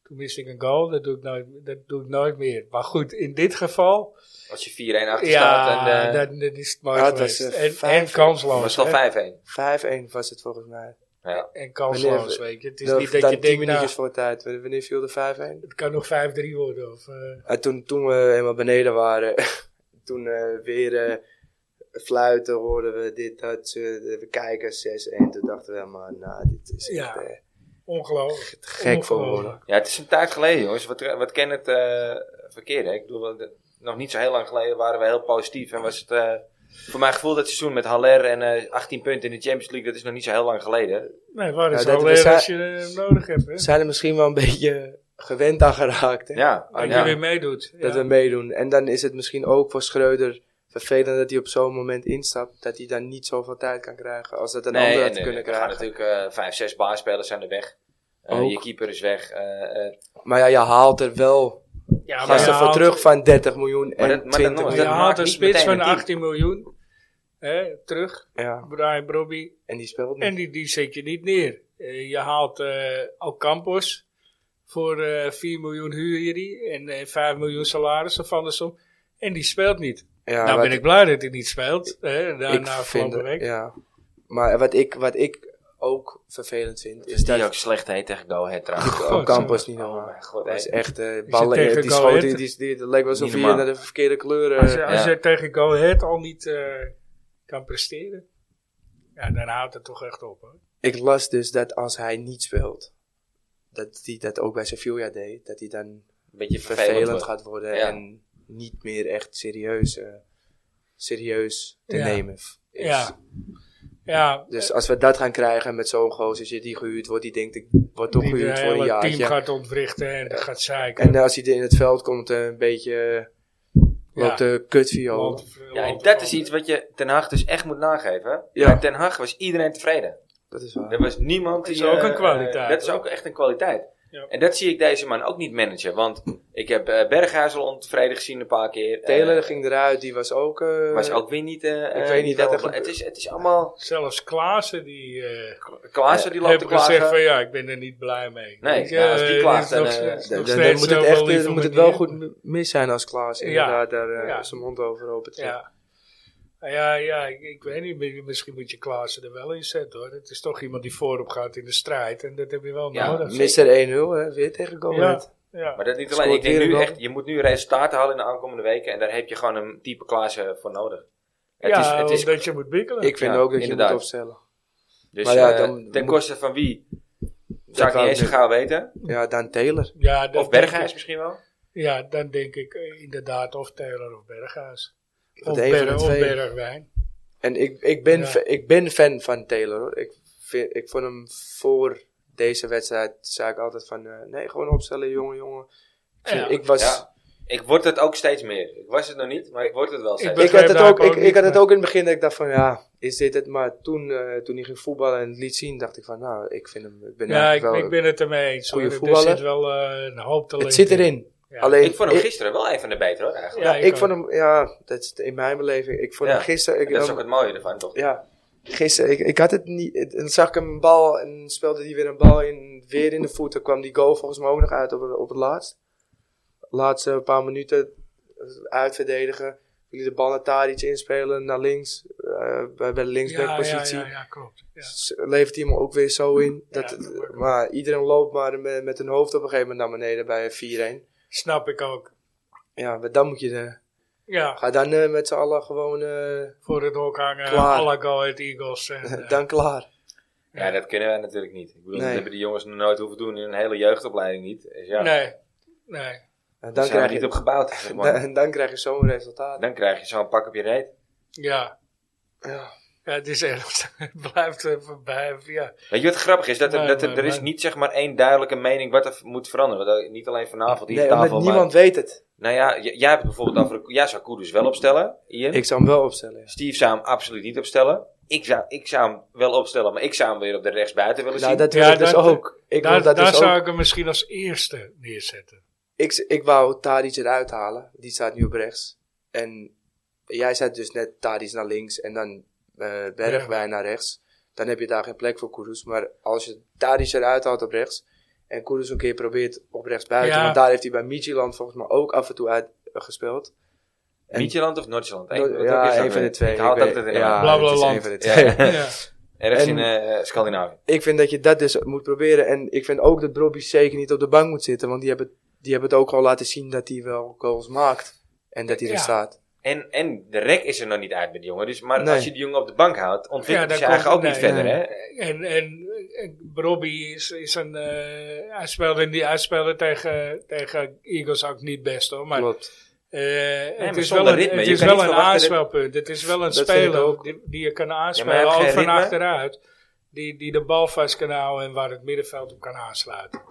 Toen miste ik een goal. Dat doe ik nooit, dat doe ik nooit meer. Maar goed, in dit geval. Als je 4-1 achter staat, Ja, dan eh, dat, dat is het mooi Ja, het geweest. was, eh, en, vijf- en kansloos. was het hè. al 5-1. 5-1 was het volgens mij. Ja. En kansloos, Wanneer- weet je. Het is Dan- niet dat dan je 10 denkt, minuutjes nou, voor tijd. W- Wanneer viel de 5-1? het kan nog 5-3 worden. Of, eh, En toen, toen we helemaal beneden waren, toen eh, weer eh, fluiten hoorden we dit, dat. ze- we kijken 6-1. Toen dachten we, maar nou, dit is Ja. echt eh, ongelooflijk. gek voor Ongelooflijk. woorden. ja, het is een tijd geleden, jongens. Wat, wat ken het eh verkeerd, hè? Ik bedoel, dat- dat- nog niet zo heel lang geleden waren we heel positief. En was het, eh, voor mijn gevoel, dat seizoen met Haller en eh, 18 punten in de Champions League, dat is nog niet zo heel lang geleden. Nee, waar is Ja, dat- al leer we als je zijn- hem nodig hebt, hè? We zijn er misschien wel een beetje gewend aan geraakt. Hè? Ja, Dat je ja. weer meedoet. Dat ja. we meedoen. En dan is het misschien ook voor Schreuder vervelend dat hij op zo'n moment instapt. Dat hij dan niet zoveel tijd kan krijgen als dat een ander had kunnen er gaan krijgen. natuurlijk eh, vijf, zes baanspelers zijn er weg. Eh, Ook. je keeper is weg. eh, eh, Maar ja, je haalt er wel Ja, maar gasten je voor haalt- terug van 30 miljoen en Maar dat- maar dan 20 nog, Maar dat je miljoen. maakt haalt een niet spits meteen van een team. 18 miljoen hè, terug. Ja, Brian Brobby. en die speelt Mm. niet. En die, die zet je niet neer. Eh, je haalt eh Alcampos. Voor eh 4 miljoen huur je die. En eh 5 miljoen salaris of andersom. En die speelt niet. ja, nou wat ben ik blij dat hij niet speelt. Hè, ik daarna vind- afgelopen week. Ja. Maar wat ik, wat ik ook vervelend vind, is Dus die dat ook slecht heet tegen Go Ahead trouwens. op campus niet Oh normaal. mijn god, Dat is hè. echt eh het ballen. tegen die Go schoot, Ahead? die, die, die, het leek wel alsof Niet je normaal. naar de verkeerde kleuren... Als, je, als Ja. je tegen Go Ahead al niet eh, kan presteren. Ja, dan houdt het toch echt op. Hoor. Ik las dus dat als hij niet speelt, dat hij dat ook bij Sevilla deed, dat hij dan beetje vervelend, vervelend. gaat worden Ja. en niet meer echt serieus, eh, serieus te Ja. nemen is. Ja. Ja, Dus als we dat gaan krijgen met zo'n gozer die gehuurd wordt, die denkt ik word toch die de gehuurd voor een hele jaartje. team gaat ontwrichten en gaat zeiken. En eh, als hij er in het veld komt, eh, een beetje Ja. loopt de kutviool. Want- Ja, en want- dat is iets wat je Ten Hag dus echt moet nageven. Ja. Bij Ten Hag was iedereen tevreden. Dat is waar. Er was niemand Dat is die... ook eh, een kwaliteit, eh, dat is hoor. ook echt een kwaliteit. Ja. En dat zie ik deze man ook niet managen. Want ik heb eh Berghuis al ontevreden gezien een paar keer. Taylor Eh, ging eruit, die was ook... eh, was ook weer niet... eh, eh, weet niet wat er helemaal- gebeurt. het, is, het is allemaal... Zelfs Klaassen die, eh Klaassen die loopt heeft te gezegd klagen. van ja, ik ben er niet blij mee. Nee, Ik, nou, als die eh, klaagt, is dan, nog- eh, is Dan, nog dan steeds moet het, wel echt, eh, lief dan om moet het neer wel te goed doen. m- mis zijn als Klaas Ja. inderdaad daar eh, Ja. zijn mond over opent. Ja. Nou Ja, ja ik, ik weet niet. mi- Misschien moet je Klaassen er wel in zetten hoor. Het is toch iemand die voorop gaat in de strijd. En dat heb je wel Ja, nodig. mi- Mister 1-0, hè, weer tegen Go Ahead. Ja. Maar dat niet Scoort alleen. Ik denk weer nu een echt, goal. je moet nu resultaten halen in de aankomende weken. En daar heb je gewoon een type Klaassen voor nodig. Het ja, is, het is, omdat je moet wikkelen. Ik vind Ja, ook dat inderdaad. je moet opstellen. dus maar ja, eh, dan ten moet- koste van wie? wou Zou ik niet ik eens zo niet. gauw weten. Ja, Dan Taylor. ja, dat Of Berghuis denk misschien wel. ik- ja, dan denk ik eh, inderdaad of Taylor of Berghuis. Of, Want een van de Berg, of twee. Bergwijn. En ik, ik, ben, Ja. fa- ik ben fan van Taylor. Hoor. Ik, vind, ik vond hem voor deze wedstrijd, zei ik altijd van, eh, nee, gewoon opstellen, jongen, jongen. Ik vind- Ja. Ik was... Ja. Ik word het ook steeds meer. Ik was het nog niet, maar ik word het wel Ik steeds ben- meer. Ik had, begrijp het daar ook, ook ik, ik had het niet, ook in het begin dat ik dacht van ja, is dit het? Maar toen, eh, toen hij ging voetballen en het liet zien, dacht ik van nou, ik vind hem, ik ben Ja, ik, eigenlijk wel, ik ben het ermee eens. hoor. goede Er voetballer. zit wel eh, een hoop talent het zit in. erin. Ja. Alleen, Ik vond hem gisteren wel een van de betere hoor, eigenlijk. ja, Ja, ik ik ook. vond hem, ja, dat is in mijn beleving. Ik vond Ja, hem gisteren, ik, dat is ook het mooie ervan, toch? ja, gisteren, ik, ik had het niet, het- en dan zag ik hem een bal en speelde hij weer een bal in, weer in de voeten. Kwam die goal volgens mij ook nog uit op, het- op het laatst. Laatste paar minuten eh, uitverdedigen. Jullie de bal naar Tadic inspelen, naar links, eh, bij, bij de linksbackpositie. Ja, ja, ja, klopt. Ja. s- levert hij hem ook weer zo in. Dat, Ja, dat wordt hem. maar iedereen loopt maar met, met een hoofd op een gegeven moment naar beneden bij een 4-1. Snap ik ook. Ja, maar dan moet je... eh, Ja, ga dan eh, met z'n allen gewoon... eh, voor het hok hangen. Klaar. Alle Go Ahead Eagles. En, eh, dan klaar. Ja, dat kunnen wij natuurlijk niet. Ik bedoel, Nee. dat hebben die jongens nog nooit hoeven doen in een hele jeugdopleiding niet. Dus ja, Nee, nee. En dan, daar zijn we krijg niet je, op gebouwd. zeg maar. dan, dan krijg je zo'n resultaat. Dan krijg je zo'n pak op je reet. Ja. Ja. Ja, het is echt, het blijft er voorbij. Ja. Weet je wat grappig is? Dat er, Nee, dat er, nee, er is nee. niet zeg maar één duidelijke mening wat er v- moet veranderen. Want, eh, niet alleen vanavond hier Nee, op omdat tafel. maar- niemand weet het. nou ja, j- jij hebt het bijvoorbeeld over... Jij zou Koeders wel opstellen, Ian. Ik zou hem wel opstellen. ja. Nou, Steve zou hem absoluut niet opstellen. Ik zou, ik zou hem wel opstellen, maar ik zou hem weer op de rechtsbuiten willen Nou, zien. dat wil Ja, ik dus dat- ook. Ik, wil Daar, dat daar dus zou ook. ik hem misschien als eerste neerzetten. Ik, ik wou Tadic eruit halen. Die staat nu op rechts. En jij zet dus net Tadic naar links en dan eh Bergwijn naar rechts. Dan heb je daar geen plek voor Kudus. Maar als je Tadic eruit haalt op rechts en Kudus een keer probeert op rechts buiten. Ja. Want daar heeft hij bij Midtjylland volgens mij ook af en toe uit eh, gespeeld. En- Mietjeland of Noordjeland? No- ja, een van de twee. Ik haal weet- dat in de ja, Blauwe het is land. een van de Ja. twee. Ja. Ergens in En- eh, Scandinavië. Ik vind dat je dat dus moet proberen. En ik vind ook dat Robbie zeker niet op de bank moet zitten. Want die hebben, die hebben het ook al laten zien dat hij wel goals maakt. En dat hij er Ja. staat. En, en de rek is er nog niet uit met die jongen. Dus, maar Nee. als je die jongen op de bank houdt, ontwikkelt Ja, hij dan zich eigenlijk ook komt- niet nee, verder. nee. Hè? En, en, en Robbie is, is een. eh hij speelde, in die, hij speelde tegen, tegen Eagles ook niet best hoor. Maar, Klopt. eh, het maar is zonder wel een, ritme. het Je is kan wel niet verwachten een dat- aanspelpunt. Het is wel een Dat vind ik speler ook. die, die je kan Ja, maar aanspelen. hij heeft ook geen van ritme. achteruit. Die, die de bal vast kan houden en waar het middenveld op kan aansluiten.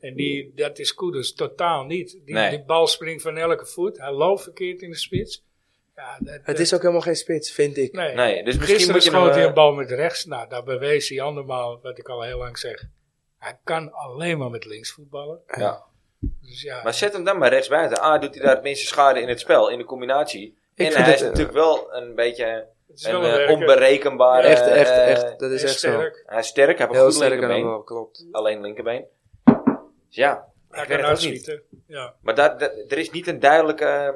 En die, dat is Koeders totaal niet. Die, Hmm. Nee. die bal springt van elke voet. Hij loopt verkeerd in de spits. Ja, dat, Het is ook helemaal geen spits, vind ik. Nee. Nee, dus misschien Gisteren moet je schoot hem, hij eh, een bal met rechts. Nou, daar bewees hij andermaal wat ik al heel lang zeg. Hij kan alleen maar met links voetballen. ja. Dus ja, Maar zet hem dan maar rechts buiten. A, doet hij daar het minste schade in het spel, in de combinatie. vind en hij dat, is eh, natuurlijk wel een beetje het is een, wel eh, een werker. onberekenbare... Echt, echt, eh, echt. Dat is Hij echt zo. sterk. Hij is sterk, hij heeft een Heel goed sterk en linkerbeen. wel, klopt. Alleen linkerbeen. Dus ja, Hij weet kan het ook uitschieten. Ja. maar daar, daar- er is niet een duidelijke eh,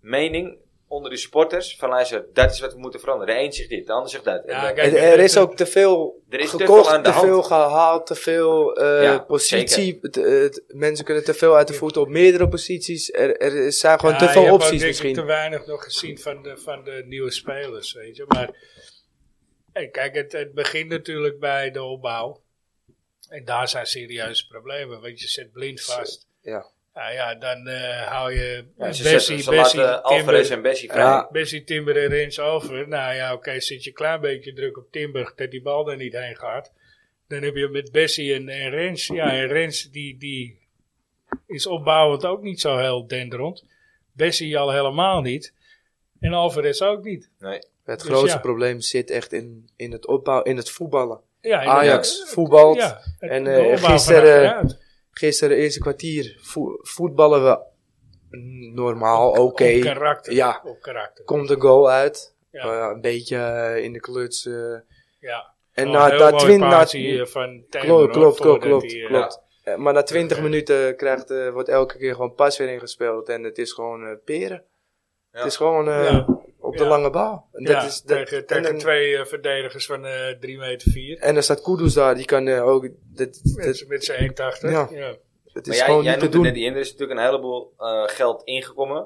mening onder de supporters van luister, dat is wat we moeten veranderen. De een zegt dit, de ander zegt dat. En eh, Ja, dan- kijk, er, er is ook te veel Er is te veel gekocht, aan de te veel hand. gehaald, te veel eh, Ja, positie. Het- het- mensen kunnen te veel uit de voeten op meerdere posities. Er, er zijn gewoon te veel opties Ik misschien. te weinig nog gezien van de, van de nieuwe spelers, weet je. Maar eh, kijk, het, het begint natuurlijk bij de opbouw. En daar zijn serieuze problemen, want je zit blind vast. Ja. Nou ja, dan eh, hou je Ja, ze Bessie, zetten- ze Bessie, laten Alvarez Timber, en Bessie vrij. Ja. Bessie, Timber en Rens over. Nou ja, oké, zit je een klein beetje druk op Timber dat die bal er niet heen gaat. Dan heb je met Bessie en, en Rens. Ja, en Rens die, die is opbouwend ook niet zo heel denderend. Bessie al helemaal niet. En Alvarez ook niet. Nee. Het Dus grootste ja. probleem zit echt in, in het opbouw, in het voetballen. Ja, en- Ajax eh, voetbalt. het- En, de eh, opbouw van gisteren- eh, achteruit. Gisteren eerste kwartier vo- voetballen we normaal, oké. Op karakter. Ja. Op karakter. Komt een goal uit. Ja. Eh, een beetje eh, in de kluts. eh. ja. en Oh, na, heel na mooie twin- na- pasie, eh, van Taylor, Klopt, hoor, klopt, klopt, voordat klopt, hij, eh, klopt. Eh, maar na 20 Ja. minuten krijgt, eh, wordt elke keer gewoon pas weer ingespeeld. En het is gewoon eh, peren. Ja. Het is gewoon eh, Ja. op de Ja. lange bal. En, dat ja, is, dat, tegen, en, tegen dan- twee eh, verdedigers van eh 3 meter 4. en dan staat Kudus daar, die kan eh, ook. Dat, dat, Met, met zijn 180. Ja. Ja. dat Maar is jij, gewoon jij niet te noemt het doen. net in, er is natuurlijk een heleboel eh, geld ingekomen.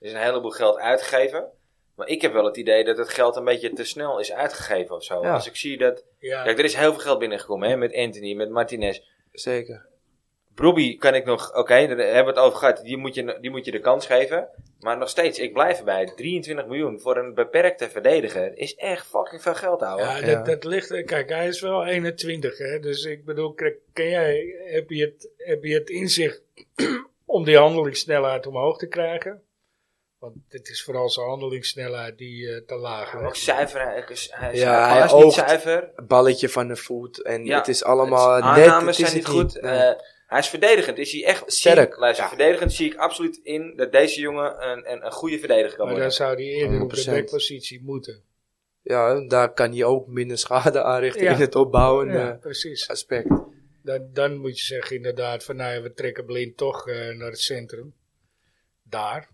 Er is een heleboel geld uitgegeven. Maar ik heb wel het idee dat het geld een beetje te snel is uitgegeven of zo. Ja. Als ik zie dat... Ja. Kijk, er is heel veel geld binnengekomen hè, met Anthony, met Martinez. Zeker. Brobbey kan ik nog... Oké, daar hebben we het over gehad. Die moet, je, die moet je de kans geven. Maar nog steeds, ik blijf erbij. 23 miljoen voor een beperkte verdediger is echt fucking veel geld, ouwe. Ja, Ja. dat, dat ligt. eh, Kijk, hij is wel 21, hè? Dus ik bedoel, kijk, ken jij, heb, je het, heb je het inzicht om die handelingssnelheid omhoog te krijgen? Want het is vooral zijn handelingssnelheid die eh, te laag Ook is. zuiver. Hij is, hij is, Ja, hij hij is niet oogt. zuiver. Balletje van de voet. En Ja, het is allemaal Het- net. aannames het is zijn niet het goed. Nee. Eh, hij is verdedigend. Is hij echt Sterk. zie ik- Luister, verdedigend zie ik absoluut in dat deze jongen een, een, een goede verdediger kan Maar dan worden. zou hij eerder op de 100%. backpositie moeten. ja, daar kan hij ook minder schade aanrichten Ja. in het opbouwende ja, precies. aspect. Dan, dan moet je zeggen inderdaad van, nou ja, we trekken blind toch eh, naar het centrum. Daar.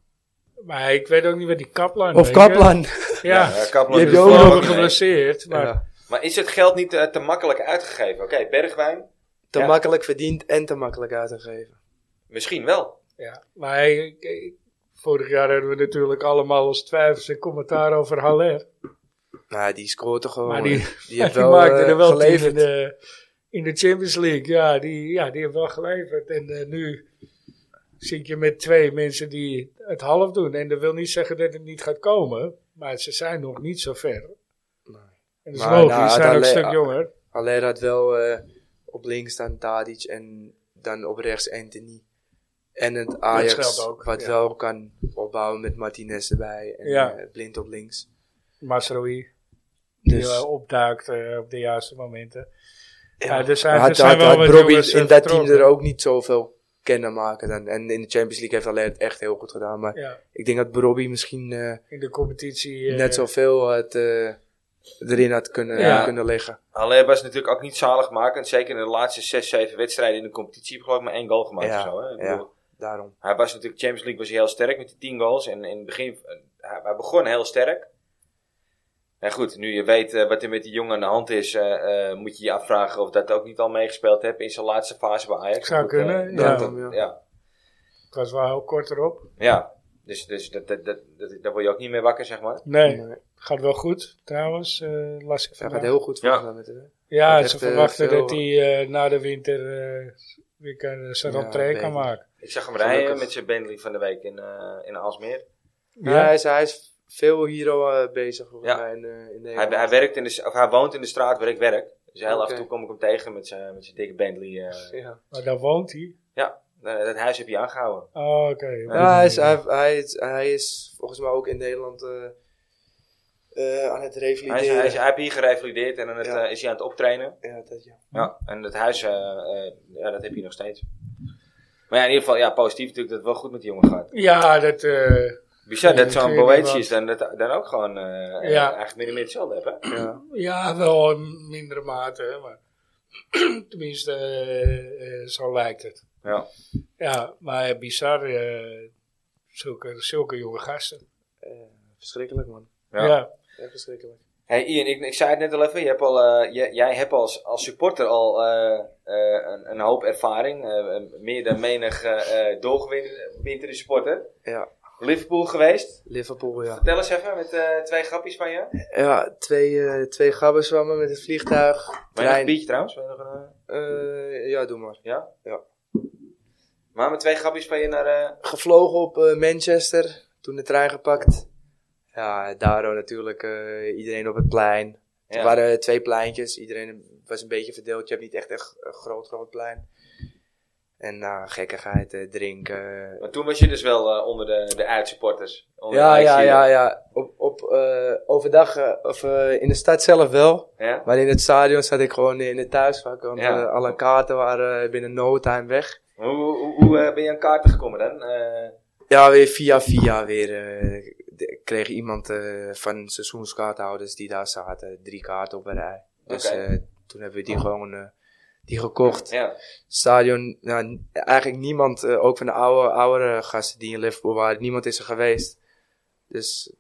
Maar ik weet ook niet wat die Kaplan... weet Of je. Kaplan. Ja, eh, Kaplan Je hebt doet het wel je ook voorlopig goed mee. geblesseerd. Maar Ja. Maar is het geld niet eh, te makkelijk uitgegeven? Oké, Bergwijn, Te Ja. makkelijk verdiend en te makkelijk uitgegeven. misschien wel. Ja, maar hij- ik- vorig jaar hadden we natuurlijk allemaal als twijfels en commentaar over Haller. Nou, die scoort toch gewoon. Maar die, die heeft die wel, maakte eh, er wel tien in geleverd. de, in de Champions League. Ja, die, ja, die heeft wel geleverd. En eh, nu zit je met twee mensen die het half doen. En dat wil niet zeggen dat het niet gaat komen. Maar ze zijn nog niet zo ver. En dat is Maar, logisch, nou, ze zijn ook een Haller- stuk jonger. Alleen had wel eh, op links dan Tadic en dan op rechts Anthony. En het Ajax, scheelt ook, wat ja. wel kan opbouwen met Martinez erbij en Ja. eh, blind op links. Masroi, die Dus eh, opduikt eh, op de juiste momenten. Ja. Ja, er zijn, er had, zijn had, wel had wat Brobbey jongens, eh, in dat team vertrokken. er ook niet zoveel kennen maken dan. En in de Champions League heeft Alleen het echt heel goed gedaan. Maar Ja, ik denk dat Brobbey misschien eh, in de competitie. eh, net zoveel had, eh, erin had kunnen, Ja. kunnen liggen. Haller was natuurlijk ook niet zaligmakend. Zeker in de laatste 6, 7 wedstrijden in de competitie heb ik geloof ik maar één goal gemaakt Ja, of zo. Hè? Ik ja. bedoel, Daarom. Hij was natuurlijk, Champions League was hij heel sterk met die 10 goals. En in het begin, eh, hij, hij begon heel sterk. En goed, nu je weet eh, wat er met die jongen aan de hand is, eh, eh, moet je je afvragen of dat ook niet al meegespeeld heeft in zijn laatste fase bij Ajax. Zou Goed, eh, kunnen, dat- ja. dat- ja. ja. Het was wel heel kort erop. Dus, dus dat, dat, dat, dat, daar word je ook niet meer wakker, zeg maar. Nee, Nee. gaat wel goed trouwens, eh, las ik Hij gaat vandaag. heel goed Ja. volgens mij met hem. ja, Hij ze heeft, eh, verwachten veel- dat hij eh, na de winter eh, weer kan, zijn Ja, rentree weet kan ik. maken. Ik zag hem rijden Gelukkig. met zijn Bentley van de week in, eh in Aalsmeer. Ja, Ja, hij, is, hij is veel hier al eh, bezig volgens Ja. mij in, eh, in Hij, Nederland. hij, werkt in de, s- of hij woont in de straat waar ik werk. Dus heel af en Oké. toe kom ik hem tegen met zijn, met zijn dikke Bentley. eh. ja. maar daar woont hij. ja, eh, dat huis heb je aangehouden. Oh, oké. Ja, hij, is, hij, hij, is, hij is volgens mij ook in Nederland eh, eh, aan het Hij, is, revalideren. hij, is, hij heeft hier gerevalideerd en aan het, Ja. eh, is hij aan het optrainen. Ja, dat, ja. Ja. En het huis, eh, eh, ja, dat heb je nog steeds. Maar ja, in ieder geval, ja, positief natuurlijk dat het wel goed met die jongen gaat. Ja, dat, eh, Bizar Nee, dat ik zo'n weet niet Boetje wat. is dan, dat, dan ook gewoon eh Ja. eigenlijk meer en meer hetzelfde hebben. Ja. ja, wel in mindere mate. hè, Maar tenminste, eh, eh, zo lijkt het. Ja. Ja, maar bizar, eh, zulke, zulke jonge gasten. Eh, verschrikkelijk man. Ja. ja. Echt verschrikkelijk. Hey Ian, ik, ik zei het net al even, je hebt al, eh, jij, jij hebt als, als supporter al eh, eh, een, een hoop ervaring. eh, meer dan menig eh eh, doorgewinterde supporter. Ja, Liverpool geweest. Liverpool ja. Vertel eens even met eh, twee grapjes van je. Ben Ja, twee, eh, twee gabbers van me met het vliegtuig. je nog een Trein. biertje trouwens? Ben je nog een, eh, Eh, ja, doe maar. Ja? Ja. Maar met twee grapjes van je naar... eh, Gevlogen op eh, Manchester. Toen de trein gepakt. Ja, daardoor natuurlijk eh, iedereen op het plein. ja. Er waren twee pleintjes. Iedereen was een beetje verdeeld. Je hebt niet echt een g- een groot, groot plein. En nou, gekkigheid, eh, drinken. Maar toen was je dus wel eh, onder de, de uitsupporters. Onder Ja, de ja, ja, Ajaxiden. ja. Op, op, eh, overdag, eh, of eh, in de stad zelf wel. Ja? Maar in het stadion zat ik gewoon in het thuisvak. Want Ja. eh, alle kaarten waren eh, binnen no time weg. Hoe, hoe, hoe eh, ben je aan kaarten gekomen dan? Eh, Ja, weer via via weer. eh, de- kreeg iemand eh, van seizoenskaarthouders die daar zaten drie kaarten op een rij. Dus Oké. eh, toen hebben we die gewoon eh, die gekocht. ja. stadion, nou, n- eigenlijk niemand, eh, ook van de oude, oude gasten die in Liverpool waren, niemand is er geweest. Dus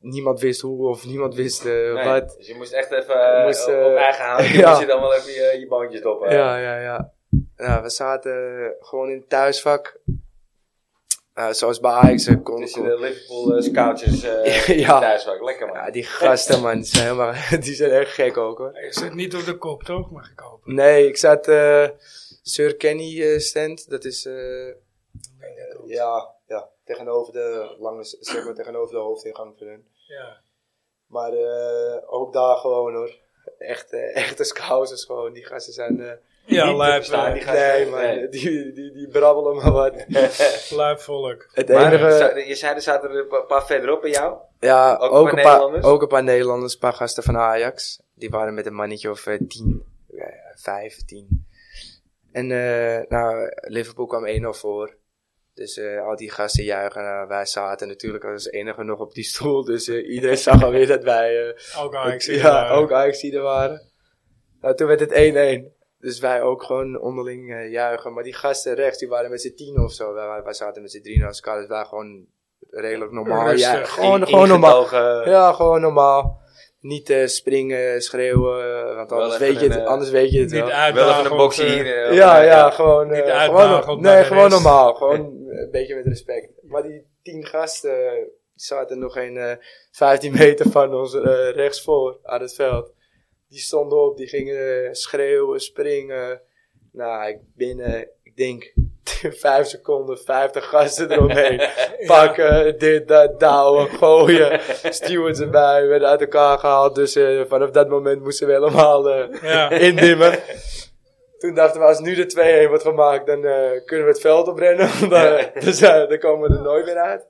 niemand wist hoe of niemand wist eh, Nee, wat. Dus je moest echt even eh, Moest, op- eh, op eigen hand. Je ja. moest je dan wel even je, je bandjes doppen. Ja, ja, eh, ja. Nou, we zaten gewoon in het thuisvak. Eh, zoals bij Ajax. eh, Kon, Tussen kon- de Liverpool eh, scoutjes eh Ja. ja. thuiswerk. Lekker man. ja, die gasten, man, die zijn, helemaal, die zijn echt gek ook, hoor. Je zit niet op de kop, toch? Mag ik hopen. Nee, ik zat eh Sir Kenny eh, stand. Dat is... eh, ja, ja, tegenover de lange, zeg maar, tegenover de hoofdingang van hun. Ja. Maar eh, ook daar gewoon hoor. Echt, eh, echte scousers gewoon. Die gasten zijn... eh, Ja, Niet te lijp, verstaan, eh, die gasten. nee, man. Nee. Die, die, die brabbelen maar wat. lijp volk. Het Maar enige... za- je zei er zaten er een pa- paar verderop bij jou. Ja, Ook een ook, paar een paar, Nederlanders? ook een paar Nederlanders, een paar gasten van Ajax. Die waren met een mannetje of eh, tien, eh, vijf, tien. En eh, nou, Liverpool kwam 1-0 voor. Dus eh, al die gasten juichen. Nou, wij zaten natuurlijk als enige nog op die stoel. Dus eh, iedereen zag alweer dat wij... eh, Ook Ajax. ja, inderdaad. ook ajax er waren. Nou, toen werd het 1-1. Dus wij ook gewoon onderling eh, juichen. Maar die gasten rechts, die waren met z'n tien of zo. Wij, wij zaten met z'n drieën als elkaar. Dus wij gewoon redelijk normaal Rustig. juichen. Gewoon, In- gewoon normaal. ingetogen. Ja, gewoon normaal. Niet eh, springen, schreeuwen, eh, want Wel anders even weet, je het, een, eh, anders weet je het Niet wel. Wel uitdagen. even een boxje eh, hier. eh, ja, eh, ja, gewoon, Niet eh, uitdagend gewoon, naar Nee, de gewoon rest. normaal. Gewoon een beetje met respect. Maar die tien gasten eh, die zaten nog geen eh 15 meter van ons eh, rechts voor aan het veld. Die stonden op, die gingen eh, schreeuwen, springen. Nou, ik ben, eh, ik denk, 5 seconden, 50 gasten eromheen. Pakken, dit, dat, douwen, gooien. Stewards erbij, werden uit elkaar gehaald. Dus eh, vanaf dat moment moesten we helemaal eh, Ja. indimmen. Toen dachten we, als nu de 2-1 wordt gemaakt, dan eh, kunnen we het veld oprennen. Want, eh, dus eh, dan komen we er nooit meer uit.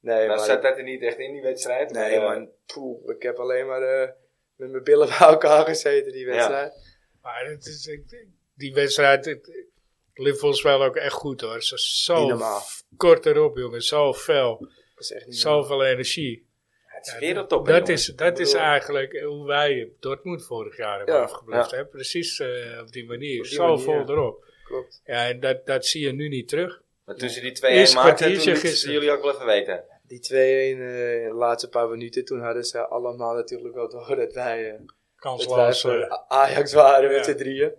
Nee, Nou man. zat dat er niet echt in die wedstrijd. maar, nee, eh, man. Poeh, ik heb alleen maar eh, met mijn billen bij elkaar gezeten die wedstrijd. Maar het is, ik- die wedstrijd, het, Liverpool speelde ook echt goed hoor. Ze is zo Niet normaal. f- kort erop jongen, zo fel, Dat is echt niet normaal. zoveel energie. Het is Ja, wereldtop. hè, Dat jongens. is, dat is bedoel- eigenlijk hoe wij Dortmund vorig jaar hebben Ja, afgebluft. Hè? Precies eh, op die manier, Op die zo manier, vol ja. erop. Klopt. Ja, en dat, dat zie je nu niet terug. Maar tussen die twee Eerste en maakten, toen kwartiertje lieten ze gisteren. jullie ook wel even weten. Die 2-1 eh, in de laatste paar minuten, toen hadden ze allemaal natuurlijk wel door dat wij... eh, Het Kansloos. was eh, voor Ajax waren Ja. met z'n drieën.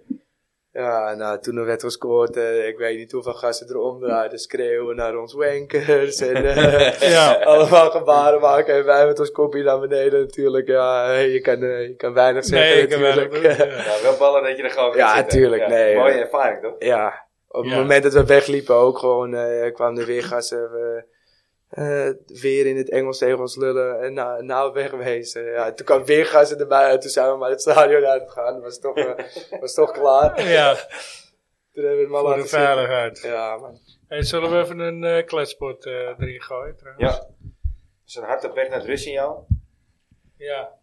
Ja, nou, toen er werd gescoord, eh, ik weet niet hoeveel gasten erom draaiden. Schreeuwen naar ons wankers en eh, Ja. allemaal gebaren maken. En wij met ons kopje naar beneden natuurlijk. Ja, hey, je, kan, eh, je kan weinig zeggen nee, ik heb wel natuurlijk. een ja. Ja, wel ballen dat je er gewoon gaat Ja, zitten. tuurlijk, nee, eh. Mooie ja. ervaring, toch? ja, op het Ja. moment dat we wegliepen ook gewoon eh kwamen er weer gasten. We, eh, weer in het Engels tegen ons lullen en nou, nou wegwezen. Ja, toen kwam weer gasten erbij en toen zijn we maar het stadion uitgegaan. Was toch, eh, was toch klaar. ja, Toen hebben we het maar voor laten de zitten. veiligheid. Ja, man. Hey, zullen we even een eh kletspot eh, erin gooien trouwens? Ja. Dus een hart op weg naar het rustsignaal. ja.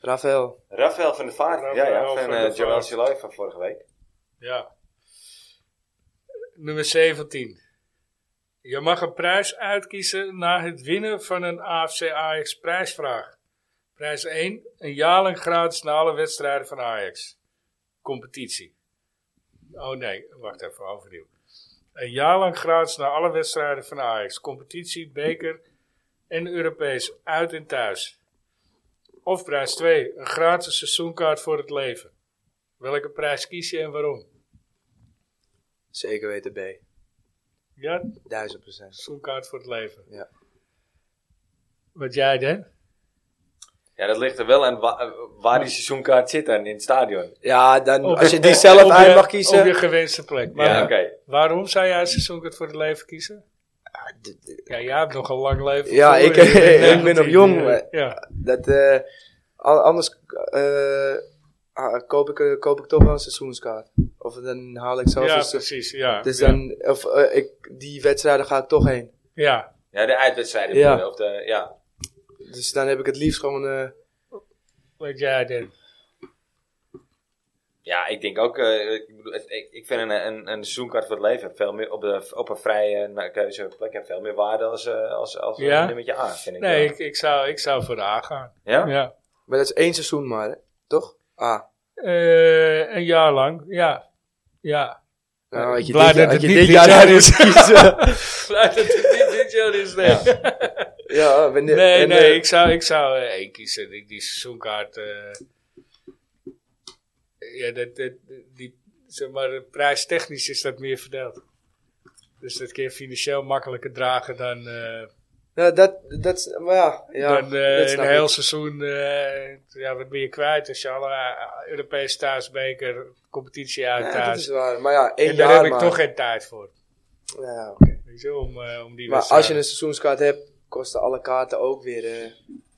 Rafael. Rafael van de Vaart. Ja, ja, Rafael van van der eh Joël Vaart. Siloy van vorige week. Ja. Nummer 17. Je mag een prijs uitkiezen na het winnen van een AFC Ajax prijsvraag. Prijs 1. Een jaar lang gratis na alle wedstrijden van Ajax. Competitie. Oh nee, wacht even, overnieuw. Een jaar lang gratis na alle wedstrijden van Ajax. Competitie, beker en Europees. Uit en thuis. Of prijs 2. Een gratis seizoenkaart voor het leven. Welke prijs kies je en waarom? Zeker weten B. Ja, Duizend procent. seizoenkaart voor het leven. Ja. Wat jij dan? Ja, dat ligt er wel aan wa- eh, waar die seizoenkaart zit dan in het stadion. Ja, dan, Op als je- je die zelf op uit je- mag Op je kiezen. gewenste plek. Maar Ja, oké. waarom zou jij seizoenkaart voor het leven kiezen? d- d- Ja, jij hebt nog een lang leven. Ja, voor ik- je. Je bent ik ben 19, nog jong, eh, maar- Ja, Dat, eh, al- anders eh, ah, koop, ik, eh, koop ik toch wel een seizoenskaart. Of dan haal ik zelf ja een seizoen. precies. Ja. Dus ja. dan, of eh, ik, die wedstrijden ga ik toch heen. Ja. Ja, de uitwedstrijden. Ja. bedoel je, Of de, ja. Dus dan heb ik het liefst gewoon, eh, wat jij dan? ja, ik denk ook... eh, ik, bedoel, het- ik, ik vind een, een, een seizoenkaart voor het leven veel meer op, de, op een vrije eh, keuzeplek heeft veel meer waarde als, eh, als, als Ja? een nummertje A, vind ik Nee, wel. ik, ik, zou, ik zou voor A gaan. Ja? Ja. maar dat is één seizoen maar, hè? toch? Ah. Eh, een jaar lang, ja. Ja. Nou, had je Blij dit, dat had het je niet dit dit jaar jaar uit moest kiezen. Laat het niet dit jaar is, nee. Ja, wanneer, Nee, en, nee, eh, ik zou, ik zou eh, één kiezen. Die, die seizoenkaart. eh, ja, dat, dat, die, zeg maar, eh, prijstechnisch is dat meer verdeeld. Dus dat kun je financieel makkelijker dragen dan, eh, nou, dat, dat, is- maar ja, ja dan eh, dat snap een heel ik. seizoen. eh, ja, wat ben je kwijt als je alle eh, Europese thuisbeker, competitie uit Ja, dat thuis. is waar. Maar ja, één en daar jaar heb ik maar. toch geen tijd voor. Ja, oké. Weet je, om, eh, om die Maar wedstrijd- als je dus een seizoenskaart hebt, kosten alle kaarten ook weer... eh,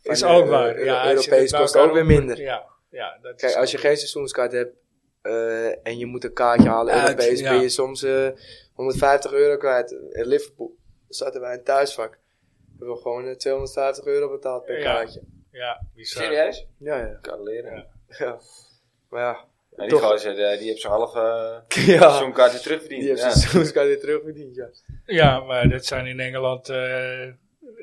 van is de ook Eu- waar. Eu- ja, als je nou Europees dat bij kost elkaar ook weer op- minder. Ja, ja, dat Kijk, is als je ook- geen seizoenskaart hebt eh, en je moet een kaartje halen, Uit, Europees, ja. ben je soms eh, 150 euro kwijt. In Liverpool zaten wij in thuisvak. Hebben we gewoon eh, 250 euro betaald per Ja. kaartje. Ja, bizar. Serieus? Ja, ja. Kan leren. Ja. ja. Maar ja, Ja, die Toch. gozer, eh, die heeft zijn half eh ja. seizoenkaartje terugverdiend. die heeft ja. zijn seizoenskaart weer terugverdiend, ja. Ja, maar dat zijn in Engeland. eh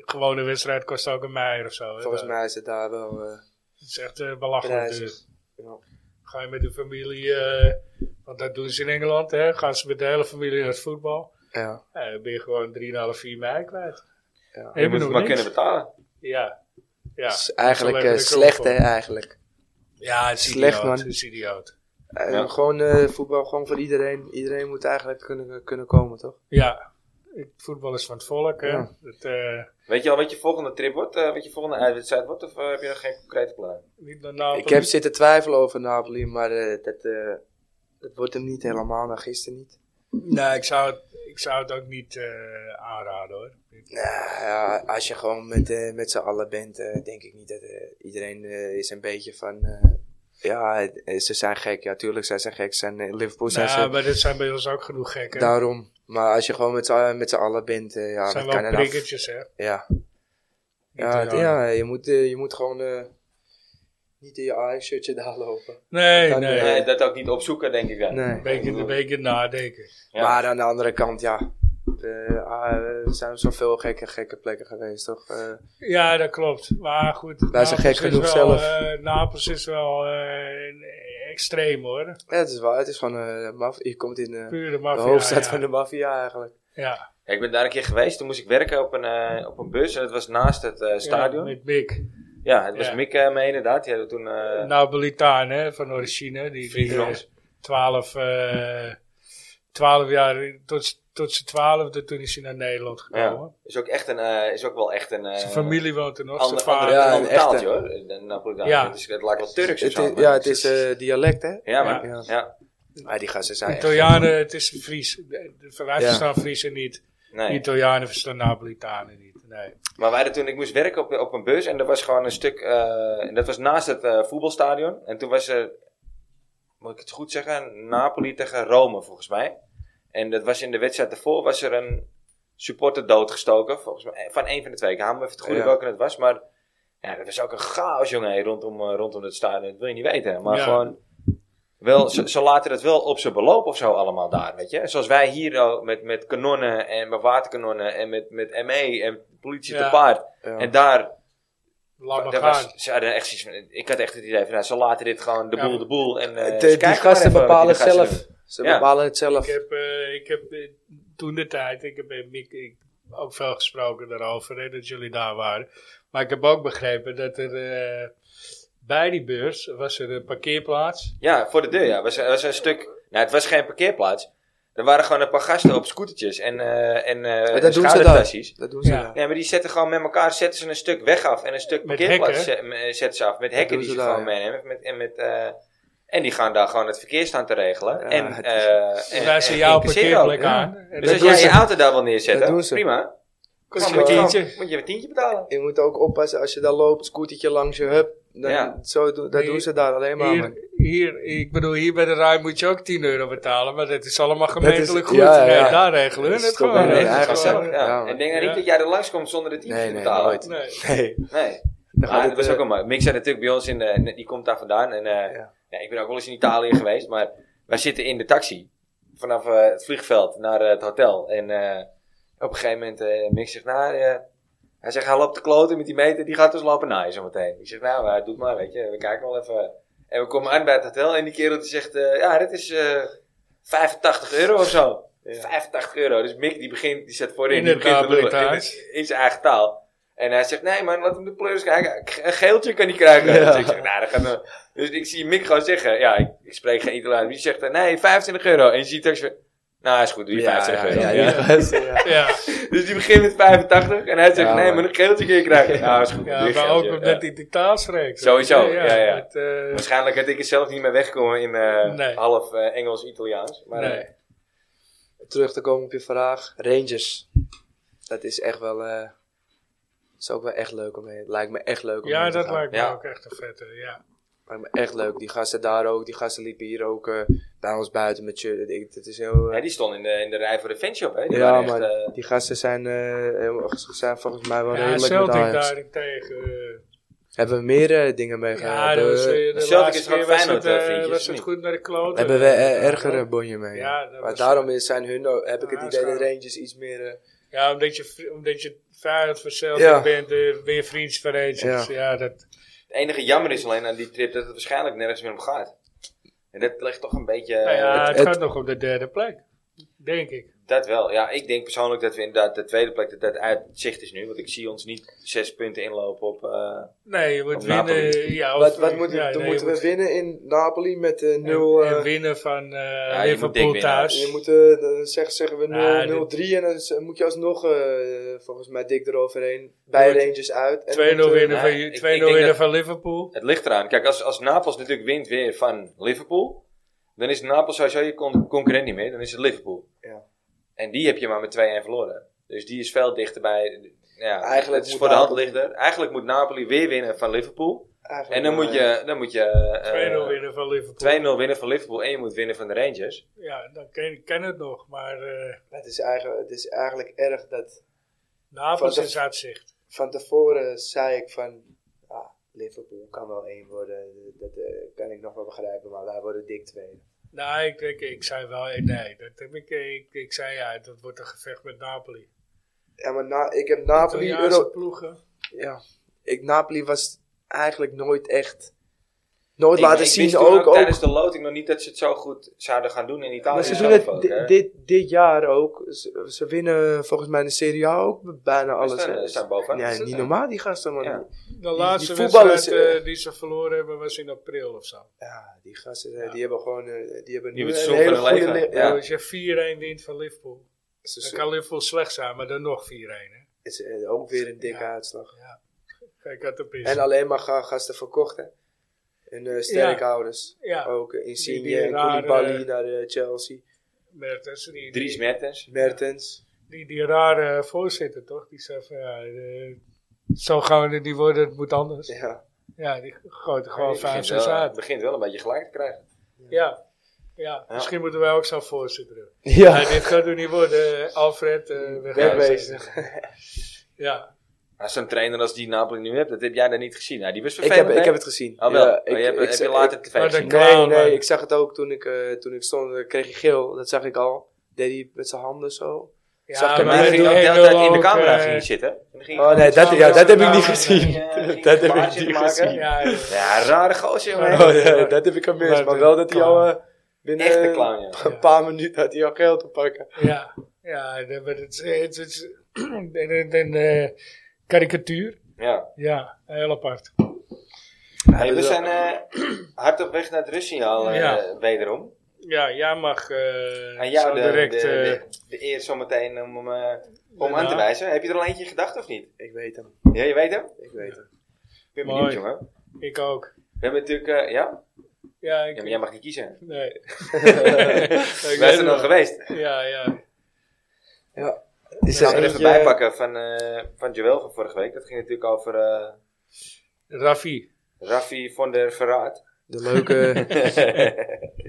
gewone wedstrijd kost ook een meier of zo. hè. Volgens Dat- mij is het daar wel eh Dat is echt eh, belachelijk. prijzig. duur. Ja. Ga je met de familie. eh, want dat doen ze in Engeland, hè? Gaan ze met de hele familie naar het voetbal. Ja. Ja, dan ben je gewoon 3,5, 4 mei kwijt. Ja. Je moet Heb je het nog maar niks? kunnen betalen. Ja. Ja. Dus eigenlijk Zal even eh, de krop slecht, op. hè, eigenlijk. ja, het is Slecht, idioot. man. Het is idioot. Eh, Ja. Gewoon eh, voetbal, gewoon voor iedereen. Iedereen moet eigenlijk kunnen, kunnen komen, toch? Ja. Het Voetbal is van het volk, hè? Ja. Het, eh, Weet je al wat je volgende trip wordt? eh, wat je volgende uitwedstrijd wordt? Of eh, heb je nog geen concrete plannen? niet naar Napoli. Ik heb zitten twijfelen over Napoli, maar eh, dat, eh, dat wordt hem niet helemaal, na gisteren niet. Nee, ik zou het, ik zou het ook niet eh, aanraden, hoor. Nou ja, als je gewoon met, eh, met z'n allen bent, eh, denk ik niet dat eh, iedereen eh, is een beetje van... eh, ja, het- eh, ze zijn gek. Ja, tuurlijk zijn ze gek. Zijn, in Liverpool zijn Ja, ze... Nou, maar dat zijn bij ons ook genoeg gekken. Daarom. Maar als je gewoon met z'n allen- met z'n allen bent, eh, Dat ja, dat zijn kan wel er af. prikkertjes, hè? Ja, Niet ja, te het- raden. ja je, moet, eh, je moet gewoon eh, niet in je Ajax-shirtje daar lopen. Nee, Kan nee. niet. Nee, Eh, dat ook niet opzoeken, denk ik dan. Nee. Een beetje, een beetje nadenken. Ja. Maar aan de andere kant, ja. eh, ah, er zijn zoveel gekke, gekke plekken geweest, toch? Eh, Ja, dat klopt. Maar goed. Wij zijn gek Napels is genoeg wel, zelf. eh, Napels is wel eh, extreem hoor. ja, het is wel, het is van eh maf- je komt in eh, Pure de maffia. hoofdstad ja. van de maffia eigenlijk. Ja. Ja, ik ben daar een keer geweest. Toen moest ik werken op een, eh, op een bus. En dat was naast het eh, stadion. Ja, Ja, met Mick. het was Ja. Mick eh, mee inderdaad. Die hadden toen... eh, Napolitaan hè, van origine. Die, die Vriend van ons. 12, eh 12 jaar, tot, tot zijn twaalfde toen is hij naar Nederland gekomen. is ook echt een... eh, is ook wel echt een... eh, Zijn familie woont er nog, Ander, zijn vader. ander, Ja, ander een echte. taaltje hoor. Eh, De Napolitaan. Ja. Het, is, het lijkt wel Turks of Het zo. is, maar ja, het is eh, dialect, hè? Ja, maar... Ja. Ja. Maar die gasten zijn echt... Italianen, het is Fries. De- de- Wij Ja. verstaan Friesen niet. Nee. Italianen verstaan Napolitanen niet. Nee. Maar wij hadden toen, ik moest werken op, op een bus en er was gewoon een stuk, eh, en dat was naast het eh, voetbalstadion. En toen was er, moet ik het goed zeggen, Napoli tegen Rome volgens mij. En dat was in de wedstrijd daarvoor, was er een supporter doodgestoken, volgens mij, eh, van één van de twee. Ik haal me even het goede Ja. welke het was, maar ja, dat was ook een chaos, jongen, hé, rondom, eh, rondom het stadion. Dat wil je niet weten, maar Ja. gewoon... Wel, ze, ze laten het wel op zijn beloop of zo allemaal daar, weet je. Zoals wij hier al met, met kanonnen en met waterkanonnen en met, met ME en politie Ja. te paard. Ja. En eh, daar, Laat maar daar gaan. was, ze hadden echt zoiets van- ik had echt het idee van, nou, ze laten dit gewoon de Ja. boel de boel. En, eh, Het, eh, ze kijken die maar gasten even wat bepalen die het gasten zelf. Ze Ja. bepalen het zelf. Ik heb, eh, ik heb toen de tijd, ik heb met Mick ik, ook veel gesproken daarover, hè, dat jullie daar waren. Maar ik heb ook begrepen dat er eh, bij die beurs was er een parkeerplaats. doen. Ja, voor de deur, ja. Was, was een stuk, nou, het was geen parkeerplaats. Er waren gewoon een paar gasten op scootertjes en, eh en eh, Maar dat doen ze daar. schoudertassies. Dat doen ze Ja. daar. Ja, maar die zetten gewoon met elkaar zetten ze een stuk weg af en een stuk Met parkeerplaats hekken, ze- m- eh, zetten ze af. Met hekken doen die ze ze daar, gewoon ja. meenemen. Met, en, met, eh, en die gaan daar gewoon het verkeer staan te regelen. Ja, en, het is- eh en, Dus daar ze en jouw incasseren ook. parkeerplek ja. aan. En Dus dat als doen jij ze. je auto daar wil Dat neerzetten, doen ze. prima. kost Dan een moet je, tientje. gewoon- moet je een tientje betalen. Je moet ook oppassen als je daar loopt, scootertje langs je hub. Dan, Ja. zo, doen- dat Hier- doen ze daar alleen maar. man. Hier, hier, ik bedoel, hier bij de Rijn moet je ook 10 euro betalen, maar dat is allemaal gemeentelijk is- goed. ja, ja. Nee, daar regelen Dat hun is het toch gewoon. wel hè. een Dat Ja, is eigen dat zo. ook, gewoon- ja. Ja, en denk nou man. niet dat jij er langs komt zonder de tientje Nee, te nee, betalen. nooit. Nee. Nee, Nee. dan Maar gaat Ah, dat was eh, ook een Mick zei natuurlijk bij ons, in, eh, die komt daar vandaan. En eh, Ja. ja, ik ben ook wel eens in Italië geweest, maar wij zitten in de taxi. Vanaf eh, het vliegveld naar eh, het hotel. En eh, op een gegeven moment, eh Mick zegt, nou, eh, hij zegt, hij loopt de kloten met die meter, die gaat dus lopen naaien zometeen. Ik zeg, nou, maar, doe het maar, weet je, we kijken wel even. En we komen aan bij het hotel en die kerel die zegt, eh, ja, dit is eh 85 euro of zo. Ja. 85 euro. Dus Mick die begint, die zet voorin, In die het begint te lullen in, Napolitaans. in zijn eigen taal. En hij zegt, nee man, laat hem de pleurs kijken. Ge- Een geeltje kan hij krijgen. Ja. Dus ik zeg, nou, dat gaat me. Dus ik zie Mick gewoon zeggen, ja, ik, ik spreek geen Italiaans. Die zegt, eh, nee, 25 euro. En je ziet straks weer, nou, is goed, doe je 25 euro. ja, Ja. ja. Ja, Dus die begint met 85 en hij zegt, Ja, nee, man. maar een geeltje kun je krijgen. Nou, is goed, doe ja je maar ook geeltje. Ja. omdat hij de taal spreekt. Sowieso, ja, ja. met, eh, Waarschijnlijk had ik er zelf niet meer wegkomen in eh, Nee. half eh, Engels-Italiaans. Maar nee. eh, Terug te komen op je vraag. Rangers. Dat is echt wel... eh is ook wel echt leuk om heen. Lijkt me echt leuk om ja, heen te dat gaan. lijkt me Ja. ook echt een vette, ja. Lijkt me echt leuk. Die gasten daar ook. Die gasten liepen hier ook eh, bij ons buiten met shirt. Ik- Het is heel... eh, ja, die stond in de, in de rij voor de fanshop, hè? Die ja, waren echt, maar eh, die gasten zijn, eh, heel- zijn volgens mij wel Ja, redelijk met Celtic Ajax. daarentegen. eh, Hebben we meer eh, dingen ja, meegemaakt? dat was, eh, we, de Celtic laatste is toch ook keer was Feyenoord, het, eh, eh, vriendjes, was of het niet? goed naar de kloten. hebben we eh, ergere bonje mee? Ja, dat maar was- daarom is- zijn hun, ook- heb ik het Ja, idee dat schaam. Rangers iets meer... eh, Ja, omdat je, vri- omdat je vijand van Celtic Ja. bent, eh, ben je vriends van Rangers. Ja. dat, Het enige jammer is alleen aan die trip dat het waarschijnlijk nergens meer om gaat. En dat ligt toch een beetje. eh, nou ja, het, het- gaat nog op de derde plek. Denk ik. Dat wel. Ja, ik denk persoonlijk dat we inderdaad de tweede plek dat dat uit het zicht is nu. Want ik zie ons niet zes punten inlopen op. eh, Nee, je moet Of Napoli. winnen. Ja, of- eh, wat wat moeten ja, dan nee, moeten je we moet- winnen in Napoli met eh, 0... en, en eh, winnen van eh moet dik Liverpool winnen. thuis. je moet, eh, dan zeggen, zeggen we 0-3 Nou, en dan z- moet je alsnog, eh, volgens mij, dik eroverheen. Bij moet Rangers uit. en 2-0 dan moet, eh, winnen, van, nee, ik- ik 2-0 denk winnen dat- van Liverpool. het ligt eraan. Kijk, als, als Napels natuurlijk wint weer van Liverpool. Dan is Napels sowieso je con- concurrent niet meer. Dan is het Liverpool. Ja. En die heb je maar met 2-1 verloren. Dus die is veel dichterbij. Ja, Eigenlijk het is moet voor de hand Napoli- lichter. Eigenlijk moet Napoli weer winnen van Liverpool. eigenlijk En dan wel, moet eh, je. Dan moet je eh, 2-0 winnen van Liverpool. 2-0 winnen van Liverpool en je moet winnen van de Rangers. Ja, dan ken, ken het nog. Maar eh Het is, eigenlijk, het is eigenlijk erg dat Napels Van de- is uitzicht. van tevoren zei ik van ja, Liverpool kan wel één worden. Dat eh, kan ik nog wel begrijpen, maar wij worden dik tweede. Nou, ik, ik, ik zei wel, eh, nee, dat heb ik, eh, ik, ik zei ja, dat wordt een gevecht met Napoli. Ja, maar na, ik heb Napoli Italiaanse Euro. ploegen. Ja, ik, Napoli was eigenlijk nooit echt. Nooit Ik- laten ik wist zien toen ook. ook, tijdens de loting nog niet dat ze het zo goed zouden gaan doen in Italië. maar ze doen zelf het ook, di- hè. dit, dit jaar ook. Ze, ze winnen volgens mij in de Serie A ook bijna Ze alles. staan, hè. ze staan bovenaan. Ja, niet normaal die gasten, man. Ja. Ja, De laatste die voetballers, wedstrijd eh, die ze verloren hebben was in april of zo. die gasten eh, die hebben gewoon eh, die hebben Die nu hebben het een zo hele van hun goede... leven. li- Ja, Dus, eh, Dus als je 4-1 wint van Liverpool, ze- dan ze- kan Liverpool slecht zijn, maar dan nog 4-1. hè. is eh, ook weer een dikke Ja. uitslag. Kijk, dat op is. En alleen maar ga- gasten verkocht, hè. En eh sterkhouders. ja, Ook eh, Insigne Die- die en rare- Koulibaly naar eh, Chelsea. Mertens, die, Dries die, Mertens. Mertens. die, die rare voorzitter toch, die zei van ja, eh, zo gaan we het niet worden, het moet anders. Ja. Ja, die gooit er Het gewoon 5 begint, 6 wel- uit. begint wel een beetje gelijk te krijgen. Ja. Ja, Ja. misschien moeten wij ook zo'n voorzitter hebben. Ja. Nee, dit gaat er niet worden, eh, Alfred. eh Wegwezen. Ja. Maar zo'n trainer als die Napoli nu hebt, dat heb jij dan niet gezien. Nou, die was Ik vervelend. heb, ik hè? heb het gezien. Oh, wel. Ja, Maar je hebt, heb je ik- later tv Maar gezien? dan- Nee, Klaar, maar- nee, ik zag het ook toen ik, eh, toen ik stond, eh, kreeg ik geel. Dat zag ik al. Deed hij met zijn handen zo. Zag ja ik En maar die hij ging doet ook de hele heel tijd in de ook, camera eh, ging zitten. En dan ging Oh hij nee, dat, ja, dat heb ik niet gezien. gewoon, eh, ging Dat heb een ik paardje niet maken. gezien. Ja, ja. Ja, rare gozer, jongen. Oh, ja, dat heb ik gemist. Maar wel dat hij al eh, binnen Echt een clown, ja. een paar minuten had hij al geld te pakken. ja, ja, dat- maar het is- eh, het is een- een- een eh, karikatuur. ja. Ja, heel apart. Hey, we dus, zijn eh, hard op weg naar het rustsignaal, eh, Ja. wederom. Ja, jij mag eh, Aan jou zo de, direct... de, eh, de, de eer zometeen om, hem, eh, om Ja. aan te wijzen. Heb je er al eentje in gedachten of niet? Ik weet hem. Ja, je weet hem? Ik weet hem. Ik ben Mooi. benieuwd, jongen. ik ook. We hebben natuurlijk, eh, ja? Ja, ik... ja, maar jij mag niet kiezen. Nee. Wij zijn er al geweest. Ik Ja, ja. Is zal er even eentje- bij pakken van, eh van Joël van vorige week. Dat ging natuurlijk over eh Raffi. Raffi van der Verraad. De leuke,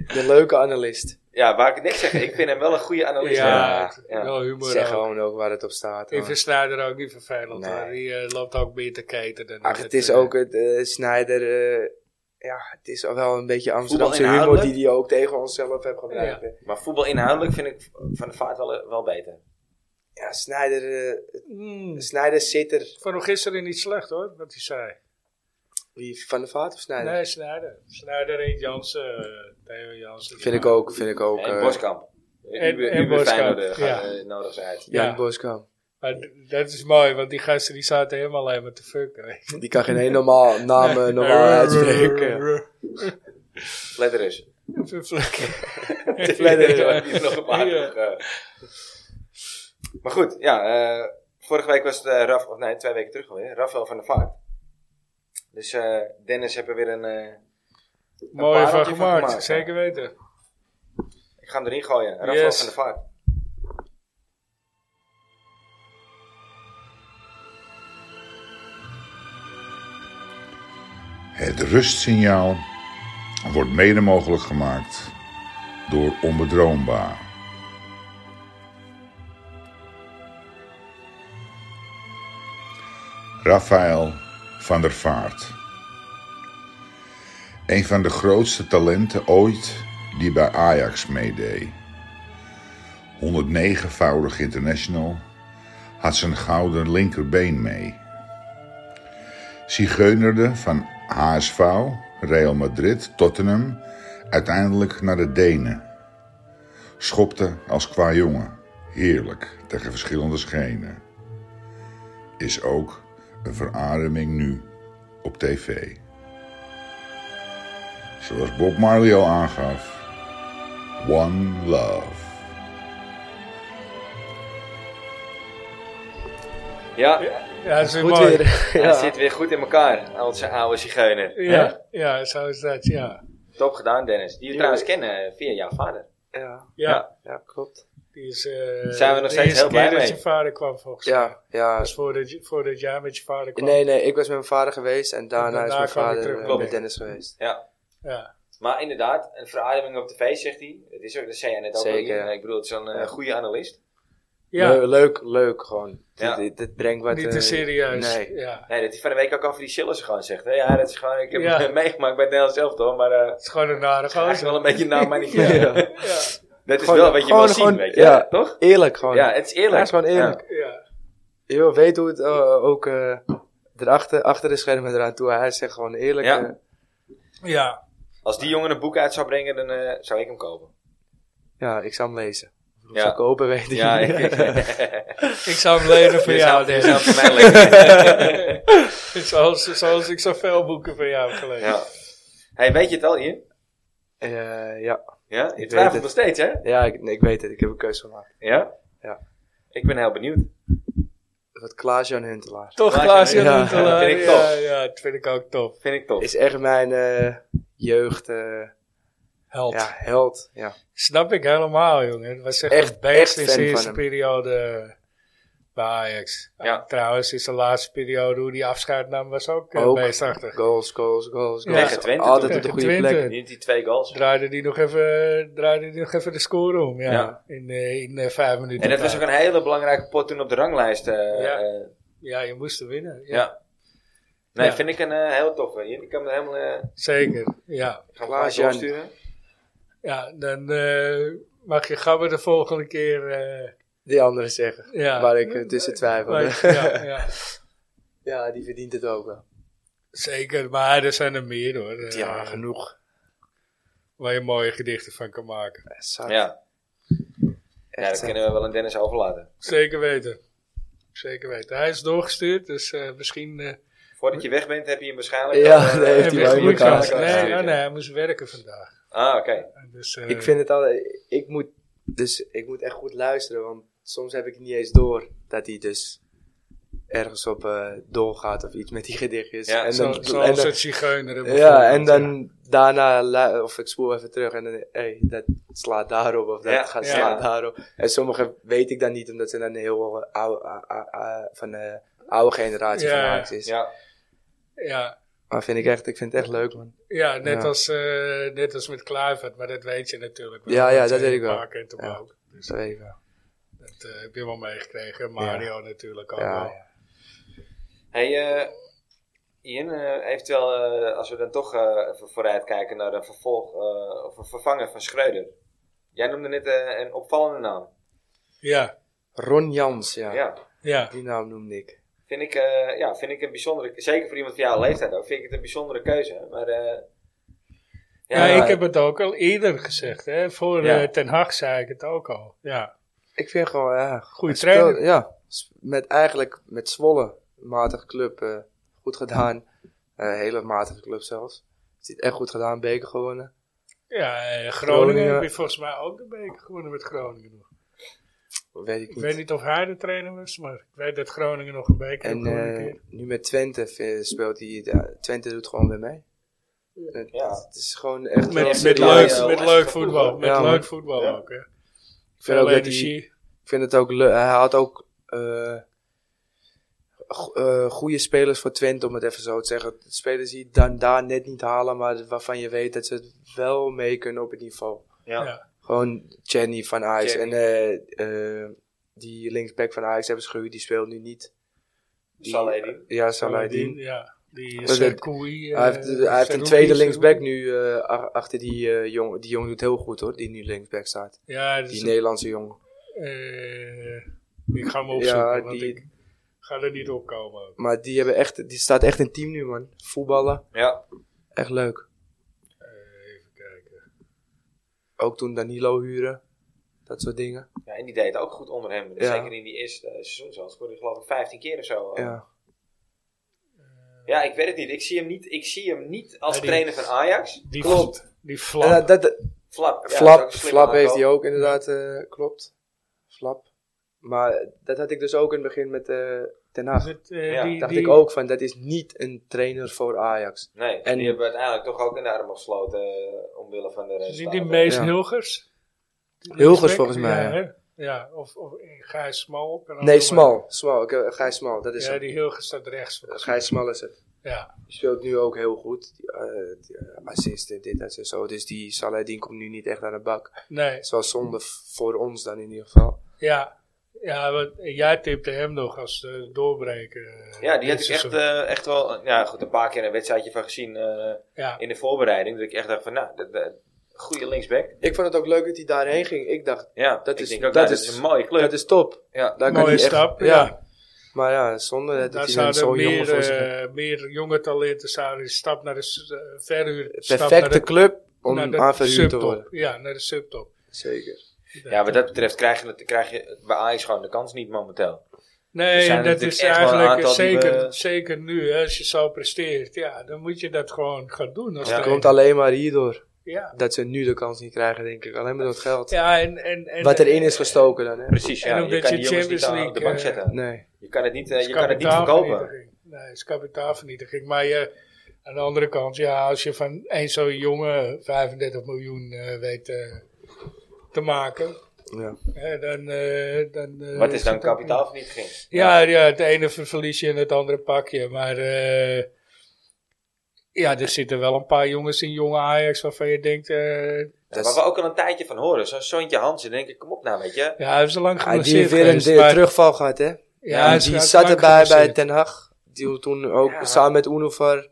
de leuke analist. ja, waar ik het niks zeg, ik vind hem wel een goede Ja, Oh, analist. het- wel humor Zeg ook. gewoon ook waar het op staat. Ik man. vind Snyder ook niet vervelend Nee. hoor. Die eh, loopt ook meer te keten. dan Ach, dat het is eh, ook het eh, Snyder. eh, ja, het is al wel een beetje Amsterdamse Voetbal humor die inhoudelijk. hij ook tegen onszelf heeft gebruikt. Ja. hè. Maar voetbal inhoudelijk vind ik van de vaart wel, eh, wel beter. Ja, Snyder, eh, Mm. Snyder zit er. Vond hem gisteren niet slecht hoor, wat hij zei. Wie, van de Vaart of Snyder? Nee, Snijder. Snijder en Jansen. eh, Theo Jansen. Vind ik ook, vind ik ook. en eh, Boskamp. en- Uber, en Uber Boskamp, Feyenoord, eh, gaat ja. eh, nodig zijn uit. Jan Ja. Boskamp. Maar d- dat is mooi, want die gasten die zaten helemaal alleen maar te fucken. weet je. Die kan geen één normaal naam eh, normaal uitspreken. Letter is. Letter is, Ja, die is nog een paar. Ja. eh. Maar goed, ja. eh, vorige week was het eh, Raf, of nee, twee weken terug alweer. Rafael van der Vaart. Dus eh, Dennis heeft er weer een. eh, Mooi pareltje van van gemaakt, gemaakt, zeker weten. ik ga hem erin gooien. Rafael Yes. van der Vaart. Het rustsignaal wordt mede mogelijk gemaakt door onbedroombaar. Rafael van der Vaart. Een van de grootste talenten ooit die bij Ajax meedeed. 109-voudig international had zijn gouden linkerbeen mee. Zigeunerde van HSV, Real Madrid, Tottenham, uiteindelijk naar de Denen. Schopte als qua jongen, heerlijk, tegen verschillende schenen. Is ook een verademing nu op tv. Zoals Bob Marley al aangaf, One Love. Ja, Ja, dat is weer Goed mooi. weer. hij ja. zit weer goed in elkaar. Onze oude zigeuner. Ja, ja, zo is dat, ja. Top gedaan, Dennis. Die we trouwens kennen eh, via jouw vader. Ja. Ja, ja, klopt. die is... eh, Zijn we nog de steeds eerste heel blij keer dat mee. je vader kwam, volgens mij. Ja, ja. Dat was voordat, je- voordat jij met je vader kwam. Nee, nee, ik was met mijn vader geweest en daarna, daarna is mijn kwam je terug. vader eh, Klopt. met Dennis geweest. Ja. Ja, Maar inderdaad, een verademing op tv, zegt hij. Dat, is ook, dat zei jij net ook. al, Zeker. Ian. Ik bedoel, het is een eh, goede analist. ja Leu- leuk, leuk gewoon. Ja. Dit, dit, dit brengt wat... niet eh, te serieus. Nee. Ja. Nee, dat hij van de week ook over die Sillis gewoon zegt. Hè? Ja, dat is gewoon, ik heb Ja. het meegemaakt bij het Nederlands elftal, maar eh Het is gewoon een nare hij is gozer. wel een beetje nou, maar niet Ja. Dat is Gewoon- wel wat je gewoon- wil zien, gewoon- weet je, ja. toch? Eerlijk gewoon. Ja, het is eerlijk. Hij is gewoon eerlijk. Ja. Je wil weten hoe het eh, ook eh, erachter, achter de schermen eraan toe. Hij zegt gewoon eerlijk. Ja. eh, ja, Als die jongen een boek uit zou brengen, dan eh, zou ik hem kopen. ja, ik zou hem lezen. Of Ja. zou ik open weten. Ja, ik, ik, ik zou hem lenen voor je jou, zou, je zou Dennis. voor mij lekker. zoals, zoals ik zoveel boeken van jou heb gelezen. ja. Hey, weet je het al hier? Eh, ja, Ja? Je weet twijfelt het. nog steeds, hè? ja ik, nee, ik weet het. Ik heb een keuze gemaakt. Ja? Ja. Ik ben heel benieuwd. Wat Klaas-Jan Huntelaar. Toch, Klaas, Klaas, ja, ja, ja. Dat vind ik top. ja, ja, dat vind ik ook top. Vind ik tof. Is echt mijn eh, jeugd... eh, Held. ja, held. Ja. Snap ik helemaal, jongen. Het was echt, Echt- het beest echt in fan zijn van eerste hem. periode eh, bij Ajax. Ja. Trouwens, is de laatste periode hoe die afscheid nam, was ook, eh, Ook. beestachtig. Goals, goals, goals, Ja. goals. Tegen Twente Altijd op toen. de goede Tegen Twente. plek. Nu die twee goals. Draaide die nog even, draaide die nog even de score om, ja. Ja. In, eh, in eh, vijf minuten. En dat was ook tijd. een hele belangrijke pot toen op de ranglijst. eh, Ja. eh, Ja, je moest er winnen. Ja. ja. Nee, Ja. vind ik een eh, heel toffe. Je- Ik kan hem helemaal... eh, Zeker, ja. ik ga hem gelijk Klaas Jan. doorsturen. Ja, dan eh, mag je gabber de volgende keer... eh, Die anderen zeggen. ja. Waar ik eh, tussen twijfelde. Waar- Ja, ja. ja, die verdient het ook wel. Zeker, maar er zijn er meer hoor. eh, Ja, genoeg. Waar je mooie gedichten van kan maken. Zat. Ja. ja, Echt eh. dat zat. kunnen we wel aan Dennis overlaten. Zeker weten. Zeker weten. Hij is doorgestuurd, dus eh, misschien. eh Voordat je weg bent, heb je hem waarschijnlijk... Ja, al, eh, nee, heeft heb hij je wel een in goede elkaar kans. gestuurd, Nee, ja. oh, nee, hij moest werken vandaag. Ah, oké. Dus, eh, Ik vind het al, ik moet, dus ik moet echt goed luisteren, want soms heb ik het niet eens door dat hij dus ergens op eh, doorgaat of iets met die gedichtjes. Ja, en zo, dan, en zoals dan- het zigeuner. ja, en dan daarna, lu- of ik spoel even terug en dan, hé, dat slaat daarop of dat Ja, gaat ja. slaat daarop. En sommige weet ik dan niet, omdat ze dan een heel eh, oude, a- a- a- van de oude generatie Ja, van Ajax is. Ja. Ja, Maar vind ik echt, ik vind het echt leuk, man. ja, net, Ja. Als, eh, net als met Kluivert, maar dat weet je natuurlijk wel. Ja, ja, Want, dat eh, weet ik wel. Pa kent hem Ja. ook. Dus dat weet ik wel. Dat eh, heb je wel meegekregen. Mario natuurlijk ook Ja, wel. ja. Hey, eh, Ian, eh, eventueel eh, als we dan toch eh, even vooruitkijken naar een vervolg eh, of een vervanger van Schreuder. Jij noemde net eh, een opvallende naam. Ja, Ron Jans, Ja. ja. ja. Die naam noemde ik. Vind ik, eh, ja, vind ik een bijzondere, zeker voor iemand van jouw leeftijd ook, vind ik het een bijzondere keuze. hè. Maar eh, Ja, ja, ik heb het ook al eerder gezegd. Hè. Voor Ja. eh, Ten Hag zei ik het ook al. Ja, Ik vind gewoon, ja. goede Speel- trainer. ja, s- met eigenlijk met Zwolle, matige club, eh, goed gedaan. Eh, hele matige club zelfs. Het is echt goed gedaan, beker gewonnen. Ja, eh, Groningen, Groningen. heb je volgens mij ook de beker gewonnen met Groningen nog. Weet ik Ik niet. weet niet of hij de trainer was, maar ik weet dat Groningen nog een beker heeft En gewonnen. een eh, keer. nu met Twente eh, speelt hij, ja, Twente doet gewoon weer mee. Het, Ja. het is gewoon echt wel Met, met, serieus. leuk, Ja, met ja, leuk ja, voetbal. Met ja, leuk man. voetbal Ja. ook, hè. Ik vind ook Veel dat hij- energie. Ik vind het ook leuk. Hij had ook eh, go- eh, goede spelers voor Twente, om het even zo te zeggen. Spelers die dan daar net niet halen, maar waarvan je weet dat ze het wel mee kunnen op het niveau. Ja. Ja. Gewoon Jenny van Ajax en Chenny. eh, eh, die linksback van Ajax hebben ze gehuurd, die speelt nu niet. Die- Saladin. Ja, Saladin. Ja, die eh, Dus het- Sekoui. hij heeft, hij heeft een tweede linksback nu eh, ach- achter die eh, jongen. Die jongen doet heel goed hoor, die nu linksback staat. Ja, dat Die is Nederlandse jongen. Eh, ik ga hem opzoeken, Ja, want die- ik ga er niet op komen. ook. Maar die, hebben echt, die staat echt in team nu man. Voetballen, Ja. echt leuk. Eh, even kijken. Ook toen Danilo huren. Dat soort dingen. ja, en die deed het ook goed onder hem. Ja. Zeker in die eerste eh, seizoen zelfs. Scoorde hij geloof ik 15 keer of zo. eh. Ja. Ja, ik weet het niet. Ik zie hem niet, ik zie hem niet als Ja, die- trainer van Ajax. Die Klopt. v- Die En flap. dat, dat, Flap. Ja, dat is flap ook een slimme flap heeft aankoop. hij ook inderdaad, eh, klopt. Flap. Maar dat had ik dus ook in het begin met eh Ten Hag. Dat, eh, Ja, die, dacht die, Oh, ik ook van, dat is niet een trainer voor Ajax. Nee, En- die hebben uiteindelijk toch ook een arm gesloten eh, omwille van de is die, resultaten. die Mees Ja. Hilgers? Die Hilgers linksback? volgens mij, Ja, ja. hè? ja of, of eh, Gijs Smal. kan ook Nee, nog Smal. Smal. Ik, eh, Gijs Smal, dat wel. is Ja, het. die Hilgers staat rechts. volgens mij. Gijs Smal is het. Ja, Die speelt nu ook heel goed. Die, eh, die, eh, assisten, dit en zo. Dus die Saladin komt nu niet echt aan de bak. nee. Het is wel zonde voor ons dan in ieder geval. Ja, ja want jij tipte hem nog als eh, doorbreker. eh, Ja, die dit had ik echt, seizoen. eh, echt wel ja, goed, een paar keer een wedstrijdje van gezien eh, ja. in de voorbereiding. Dat ik echt dacht van, nou, dat, dat- goede linksback. Ik vond het ook leuk dat hij daarheen ging. Ik dacht, Ja, Dat ik is- denk ook, dat nou, dat is- is een mooie club. dat is top. ja. Daar kan Mooie hij echt- stap, ja. Maar ja, zonder dat Daar hij dan zouden zo jong meer, voor zich heeft. eh, meer jonge talenten zouden die stap naar de s- eh, verhuur. stap naar Perfecte de, club naar om de aanverhuurd te subtop. worden. Ja, naar de subtop. Zeker. ja, wat dat betreft krijg je, het- krijg je bij Ajax gewoon de kans niet momenteel. Er Nee, zijn en dat natuurlijk is echt wel een eigenlijk aantal die zeker, we- zeker nu, hè, als je zo presteert, ja, dan moet je dat gewoon gaan doen. Als Ja. Het trainer. komt alleen maar hierdoor. ja. Dat ze nu de kans niet krijgen, denk ik. Alleen maar door het geld. ja, en, en, en, eh, Wat erin is gestoken dan, hè? Precies, En ja. ook Je dat kan je die jongens niet Champions aan- op de bank League, eh, dus zetten. Nee. Je kan het niet, eh, je is kan het niet verkopen. kapitaalvernietiging. Nee, het is kapitaalvernietiging. Maar je, aan de andere kant, ja, als je van één zo'n jongen 35 miljoen eh, weet eh, te maken, Ja. hè, dan... eh, dan eh, Wat is dan het ook- kapitaalvernietiging? Ja, ja, het ene ver- verlies je en het andere pak je. Maar eh, ja, er zitten wel een paar jongens in jonge Ajax waarvan je denkt... eh, Ja, waar Dat is- we ook al een tijdje van horen. Zo'n Sontje Hansen, denk ik, kom op nou, weet je. ja, hij is al lang Hij heeft hier geblesseerd Ah, weer een geweest. de- maar- terugval gehad, hè? ja, hij is- hij die is zat lang erbij bij geblesseerd. Ten Hag. Die toen ook Ja. samen met Unovar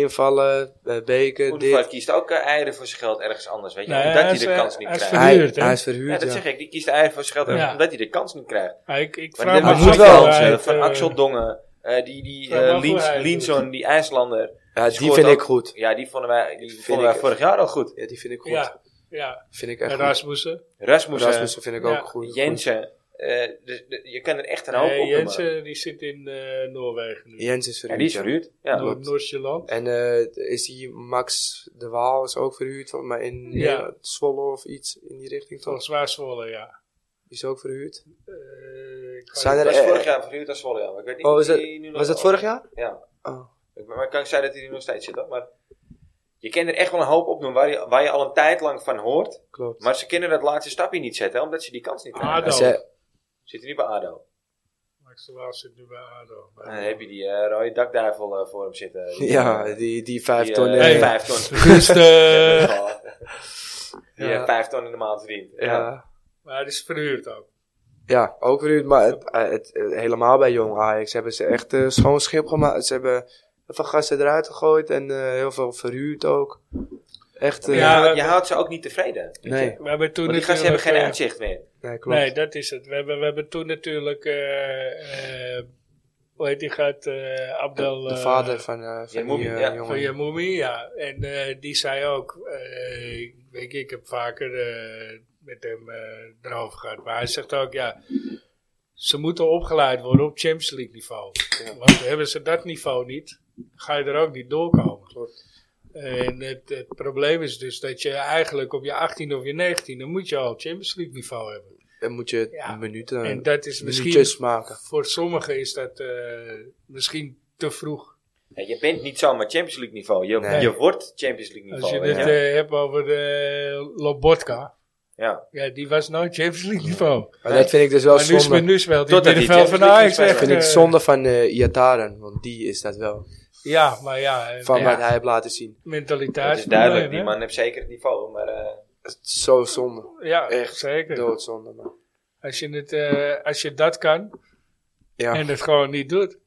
invallen, eh, Beken, Oedevaart dit. kiest ook eh, eieren voor zijn geld ergens anders, weet je. Nee, omdat hij hij is, de eh, kans niet hij is krijgt. verhuurd. hè? Hij, hij is Ja, verhuurd, dat ja. zeg ik. Die kiest eieren voor zijn geld ergens Ja. omdat hij de kans niet krijgt. Ja, ik, ik Maar vraag dit me was moet af ook of wel. wel hij eh, het, van eh, Axel Dongen. eh, die die Ja, eh, maar Liens- voor hij- Liensson, die IJslander. Ja, die scoort vind ook- ik goed. Ja, die vonden wij, die Vind vonden wij ik- vorig jaar al goed. Ja, die vind ik goed. Ja, ja. Vind ik En echt goed. Rasmussen. Rasmussen, Rasmussen vind ik Ja, ook goed. Jensen. eh, dus de- je kan er echt een hoop Nee, op noemen. Jensen die zit in eh, Noorwegen nu. Jens is Ja, verhuurd. die is ja. verhuurd. Ja. Noor- klopt. Noord-Zeeland. En eh, is die Max de Waal is ook verhuurd, volgens mij in Ja. Nederland, Zwolle of iets in die richting toch? Volgens mij Zwolle, ja. Die is ook verhuurd. Eh, ik Zijn weet Dat was niet. er- eh, vorig jaar verhuurd aan Zwolle, ja. Maar ik weet niet Oh, of is dat- die nu nog- Was dat vorig jaar? Ja. Oh. Ik- Maar ik kan zijn dat hij er nog steeds zit, hoor. Maar je kan er echt wel een hoop op doen waar je, waar je al een tijd lang van hoort. Klopt. Maar ze kunnen dat laatste stapje niet zetten, hè, omdat ze die kans niet krijgen. ADO. Hij zei- Zit hij nu bij ADO? Max de Waal zit nu bij ADO. Dan heb je die eh, rode dakduivel eh, voor hem zitten. Die, ja, eh, die, die vijf die, eh, ton. eh, Nou. Hey. vijf ton. Dus, eh, Die Ja. eh, vijf ton in de maand verdient. Ja. ja. maar het is verhuurd ook. ja, ook verhuurd. Maar het, eh, het, eh, helemaal bij Jong Ajax hebben ze echt eh, schoon schip gemaakt. Ze hebben heel veel gasten eruit gegooid en eh, heel veel verhuurd ook. Echt, Maar eh, je Ja. houdt- je houdt ze ook niet tevreden. nee, We hebben toen Want die gasten hebben natuurlijk, geen eh, uitzicht meer. nee, klopt. Nee, dat is het. We hebben, we hebben toen natuurlijk... eh, eh, hoe heet die gaat? eh, Abdel... de eh, vader van, eh van die Jermoumi, eh, ja, jongen. Van je moemie, ja. En eh, die zei ook, eh, ik weet je, ik heb vaker eh, met hem eh, erover gehad, maar hij zegt ook, ja, Ze moeten opgeleid worden op Champions League niveau. Want hebben ze dat niveau niet, ga je er ook niet doorkomen. En het, het probleem is dus dat je eigenlijk op je 18e of je 19e moet je al Champions League niveau hebben. Dan moet je Ja. minuten, en dat is misschien, minuutjes maken. voor sommigen is dat eh, misschien te vroeg. Ja, je bent niet zomaar Champions League niveau. Je, Nee. je wordt Champions League Als niveau. je weet het je. eh, hebt over de Lobotka. ja. Ja, die was nooit Champions League niveau. Maar dat vind ik dus wel Maar nu, zonde. spe- nu speelt hij Totdat hij middenveld van Champions Ajax League weg. speelt. vind ik eh, zonde van eh Iataren, want die is dat wel. Ja, maar ja, eh, Van ja, wat hij heeft laten zien. mentaliteit. Het is duidelijk, die man heeft zeker het niveau. Maar eh, Dat is Zo zonde. Ja, echt Echt zeker. Doodzonde, man. Als je, het, eh, als je dat kan Ja. en het gewoon niet doet,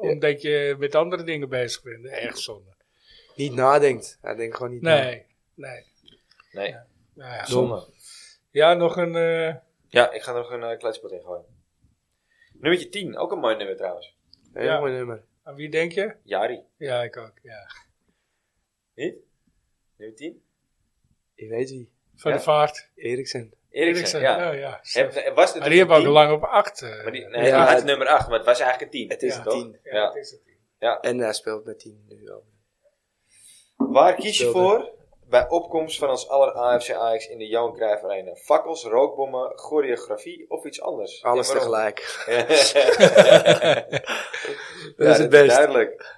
omdat je met andere dingen bezig bent, echt zonde. Niet nadenkt. Hij denkt gewoon niet na. Nee, nee. nee, Nou ja. zonde. ja, nog een. eh, Ja, ik ga nog een eh, kletspot in gooien. Nummertje 10, ook een mooi nummer trouwens. Heel Ja. mooi nummer. aan wie denk je? Jari. Ja, ik ook. Ja. Niet? Nummer 10? Ik weet wie. Van Ja? de vaart. Oh, Eriksen. Eriksen, ja. ja. ja. Heb- eh, was het Maar die hebben ook nummer 10? lang op acht. eh, Maar die, nee, Ja, hij had het- nummer 8, maar het was eigenlijk een 10. Het is Ja. een tien. Ja. dat is het. En hij speelt met tien nu al. Waar kies je Speelde. voor bij opkomst van ons aller AFC Ajax in de Johan Cruijff Arena? Fakkels, rookbommen, choreografie of iets anders? Dus Alles En waarom? tegelijk. Ja, Dat is het beste. duidelijk.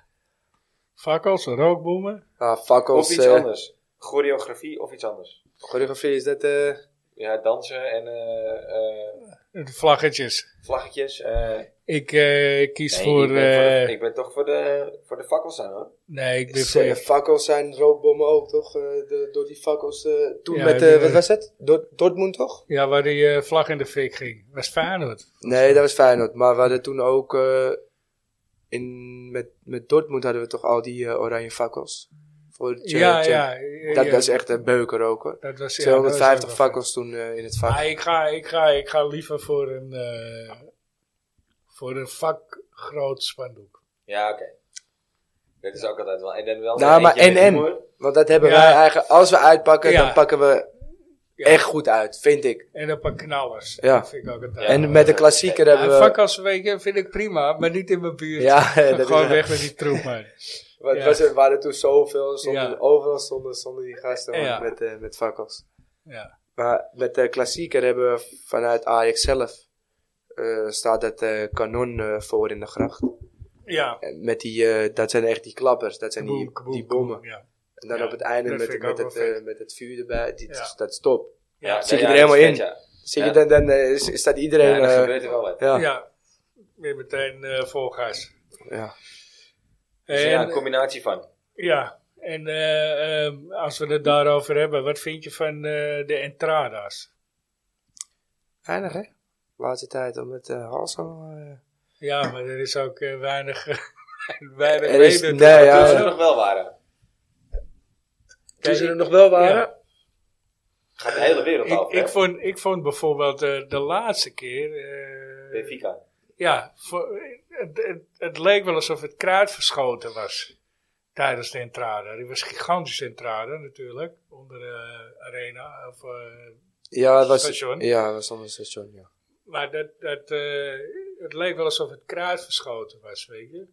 Fakkels, rookbommen. Ah, fakkels. Of iets eh, anders. Choreografie of iets anders. Choreografie is dat... eh, Ja, dansen en eh, eh, en de Vlaggetjes. vlaggetjes. eh. Ik eh, kies Nee, voor. ik, ben voor de- eh, ik ben toch voor de, voor de fakkels dan hoor. nee, ik ben is, voor. eh, fakkels zijn rookbommen ook, toch? Eh, de- door die fakkels. eh, toen Ja, met... die, eh, eh, wat was het? Dort- Dortmund, toch? Ja, waar die eh, vlag in de fik ging. Was Feyenoord. Nee, dat was Feyenoord. Maar we hadden toen ook... eh, in, met, met Dortmund hadden we toch al die eh, oranje fakkels. Voor de Ja, Champions ja. Dat, ja. dat is echt een beuker ook hoor. Dat was, ja, dat was 250 ook wel fakkels toen eh, in het fijn. vak. Maar ik ga, ik, ga, ik ga liever voor een, eh voor een vakgroot spandoek. Ja, oké. Dat is ook altijd wel. En dan wel Nou, een maar eentje met en- en. humor. Want dat hebben Ja. wij eigenlijk. Als we uitpakken, Ja. dan pakken we Ja. echt goed uit, vind ik. En een paar knallers. Ja. Dat vind ik ook een Ja. en met de klassieker Ja, hebben we. vakkas weet je, vind ik prima, maar niet in mijn buurt. Ja, dat is Gewoon waar. weg met die troep, man. Want Ja. was er, waren toen zoveel, stonden, Ja. overal stonden, stonden die gasten man, Ja. met, eh, met fakkels. Ja. Maar met de klassieker hebben we vanuit Ajax zelf. eh, staat het eh, kanon eh, voor in de gracht. ja. En met die, eh, dat zijn echt die klappers, dat zijn die, Kaboom, kaboom, die bommen. kaboom, Ja. En dan Ja, op het einde dat vind met, ik ook met, wel het, vet. eh, met het vuur erbij, dit, Ja. dat is top. Ja, Zit je ja, er helemaal dat is in? vet, ja. Zie Ja. je, dan, dan eh, is, is dat iedereen... Ja, dan eh, gebeurt er wel wat. ja, ja. Ja. Weer meteen eh vol gas. Dus ja, En- een combinatie van. Ja, en eh, ehm, als we het daarover hebben, wat vind je van eh, de entrada's? Weinig, hè? Laatste tijd om het eh hals al... eh, Ja, maar er is ook eh, weinig, weinig Er is- reden nee, te- Toen Ja, ze ja. er nog wel waren. toen ze ik- er nog wel waren. ja. Gaat de hele wereld Ik, over. ik, hè? vond, ik vond bijvoorbeeld eh, de laatste keer... eh, Benfica. ja, voor- het, het, het leek wel alsof het kruid verschoten was tijdens de entrada. Die was gigantisch entrada natuurlijk, onder de arena. Of, eh, Ja, het was... Station. Ja, het was onder het station, ja. Maar dat, dat, eh, het leek wel alsof het kruid verschoten was, weet je.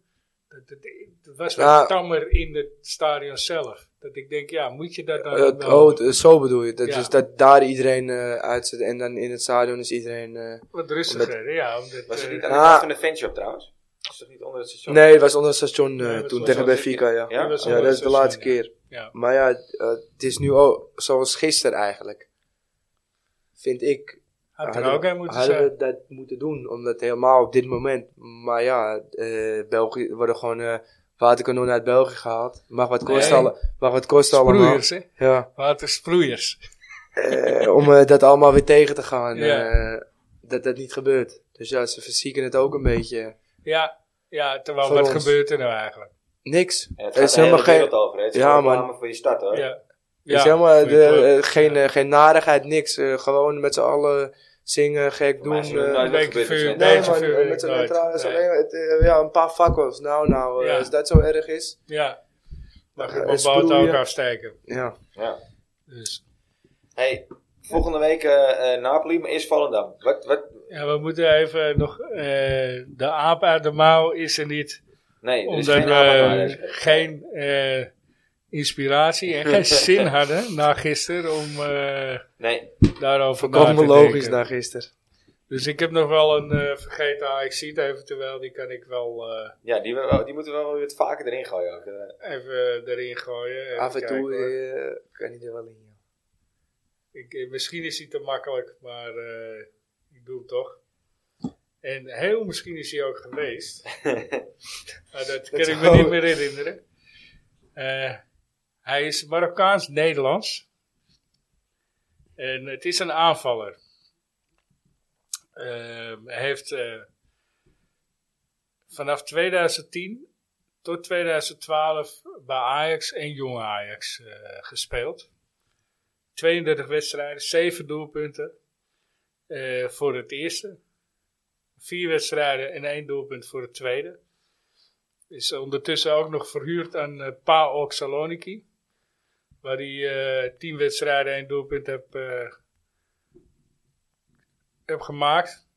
Dat, dat, het was wat Ja. tammer in het stadion zelf. Dat ik denk, ja, moet je dat dan... Eh, wel- oh, d- zo bedoel je. Dat, Ja. Dus dat daar iedereen eh uit zit en dan in het stadion is iedereen... eh, wat rustiger, ja. Omdat, Was het eh, niet aan Ah. de kant van de fanshop trouwens? Was het niet onder het station? Nee, het was onder het station eh, Nee, het toen was tegen onder het Benfica, ja. station. Ja, Ja, het was dat onder is het de laatste station, keer. ja. Maar ja, eh, het is nu ook zoals gisteren eigenlijk. Vind ik. Had er Hadden ook we- een moeten hadden zijn. we dat moeten doen, omdat helemaal op dit moment. Maar ja, eh, België er worden gewoon eh, waterkanonnen uit België gehaald. Mag wat kosten, Nee. alle- mag wat kosten allemaal. Sproeiers, hè. Ja, Watersproeiers. eh, om eh, dat allemaal weer tegen te gaan. Ja. eh, dat dat niet gebeurt. Dus ja, ze verzieken het ook een beetje. Ja, ja terwijl Voor wat ons. gebeurt er nou eigenlijk? Niks. En het Er gaat is de hele helemaal geen. wereld over. hè? Het is Ja, ja, man. reclame voor je stad hoor. Ja. Er is helemaal voor je de- club. eh, geen, eh, geen narigheid, niks. Eh, gewoon met z'n allen zingen, gek Maar ze doen. doen eh, nooit een beetje gebeurt het vuur. niet. Nee, Nee, man, zoveel eh, met werkt zo'n nooit. neutrale is Nee. alleen maar het, eh, ja, een paar fakkels. Nou, nou, eh, Ja. als dat zo erg is. Ja. Mag ik Eh, mijn boot sproeien. ook afsteken. Ja. Ja. Dus, Hey, Volgende week eh, eh, Napoli, maar eerst Volendam. Wat, wat? Ja, we moeten even nog. eh, de aap uit de mouw is er niet. Nee, er is Omdat geen we aanval eh, naar deze. geen eh, inspiratie en geen zin hadden na gisteren om eh, Nee, daarover na te Kom logisch denken. na gisteren. Dus ik heb nog wel een eh, vergeten ax eventueel. Die kan ik wel eh, ja, die, we- die moeten we wel weer wat vaker erin gooien. Ook. eh. even erin gooien. Even Af en kijken toe hoor. eh, kan hij er wel in. ja. Ik, eh, misschien is hij te makkelijk, maar eh, ik doe hem toch. En heel misschien is hij ook geweest. maar dat kan ik me zou- niet meer herinneren. Eh, hij is Marokkaans-Nederlands. En het is een aanvaller. Ehm, hij heeft eh, vanaf 2010 tot 2012 bij Ajax en Jong Ajax eh, gespeeld. 32 wedstrijden, 7 doelpunten eh, voor het eerste. 4 wedstrijden en 1 doelpunt voor het tweede. Is ondertussen ook nog verhuurd aan eh PAOK Saloniki. Waar hij eh 10 wedstrijden en 1 doelpunt heb, eh, heb gemaakt.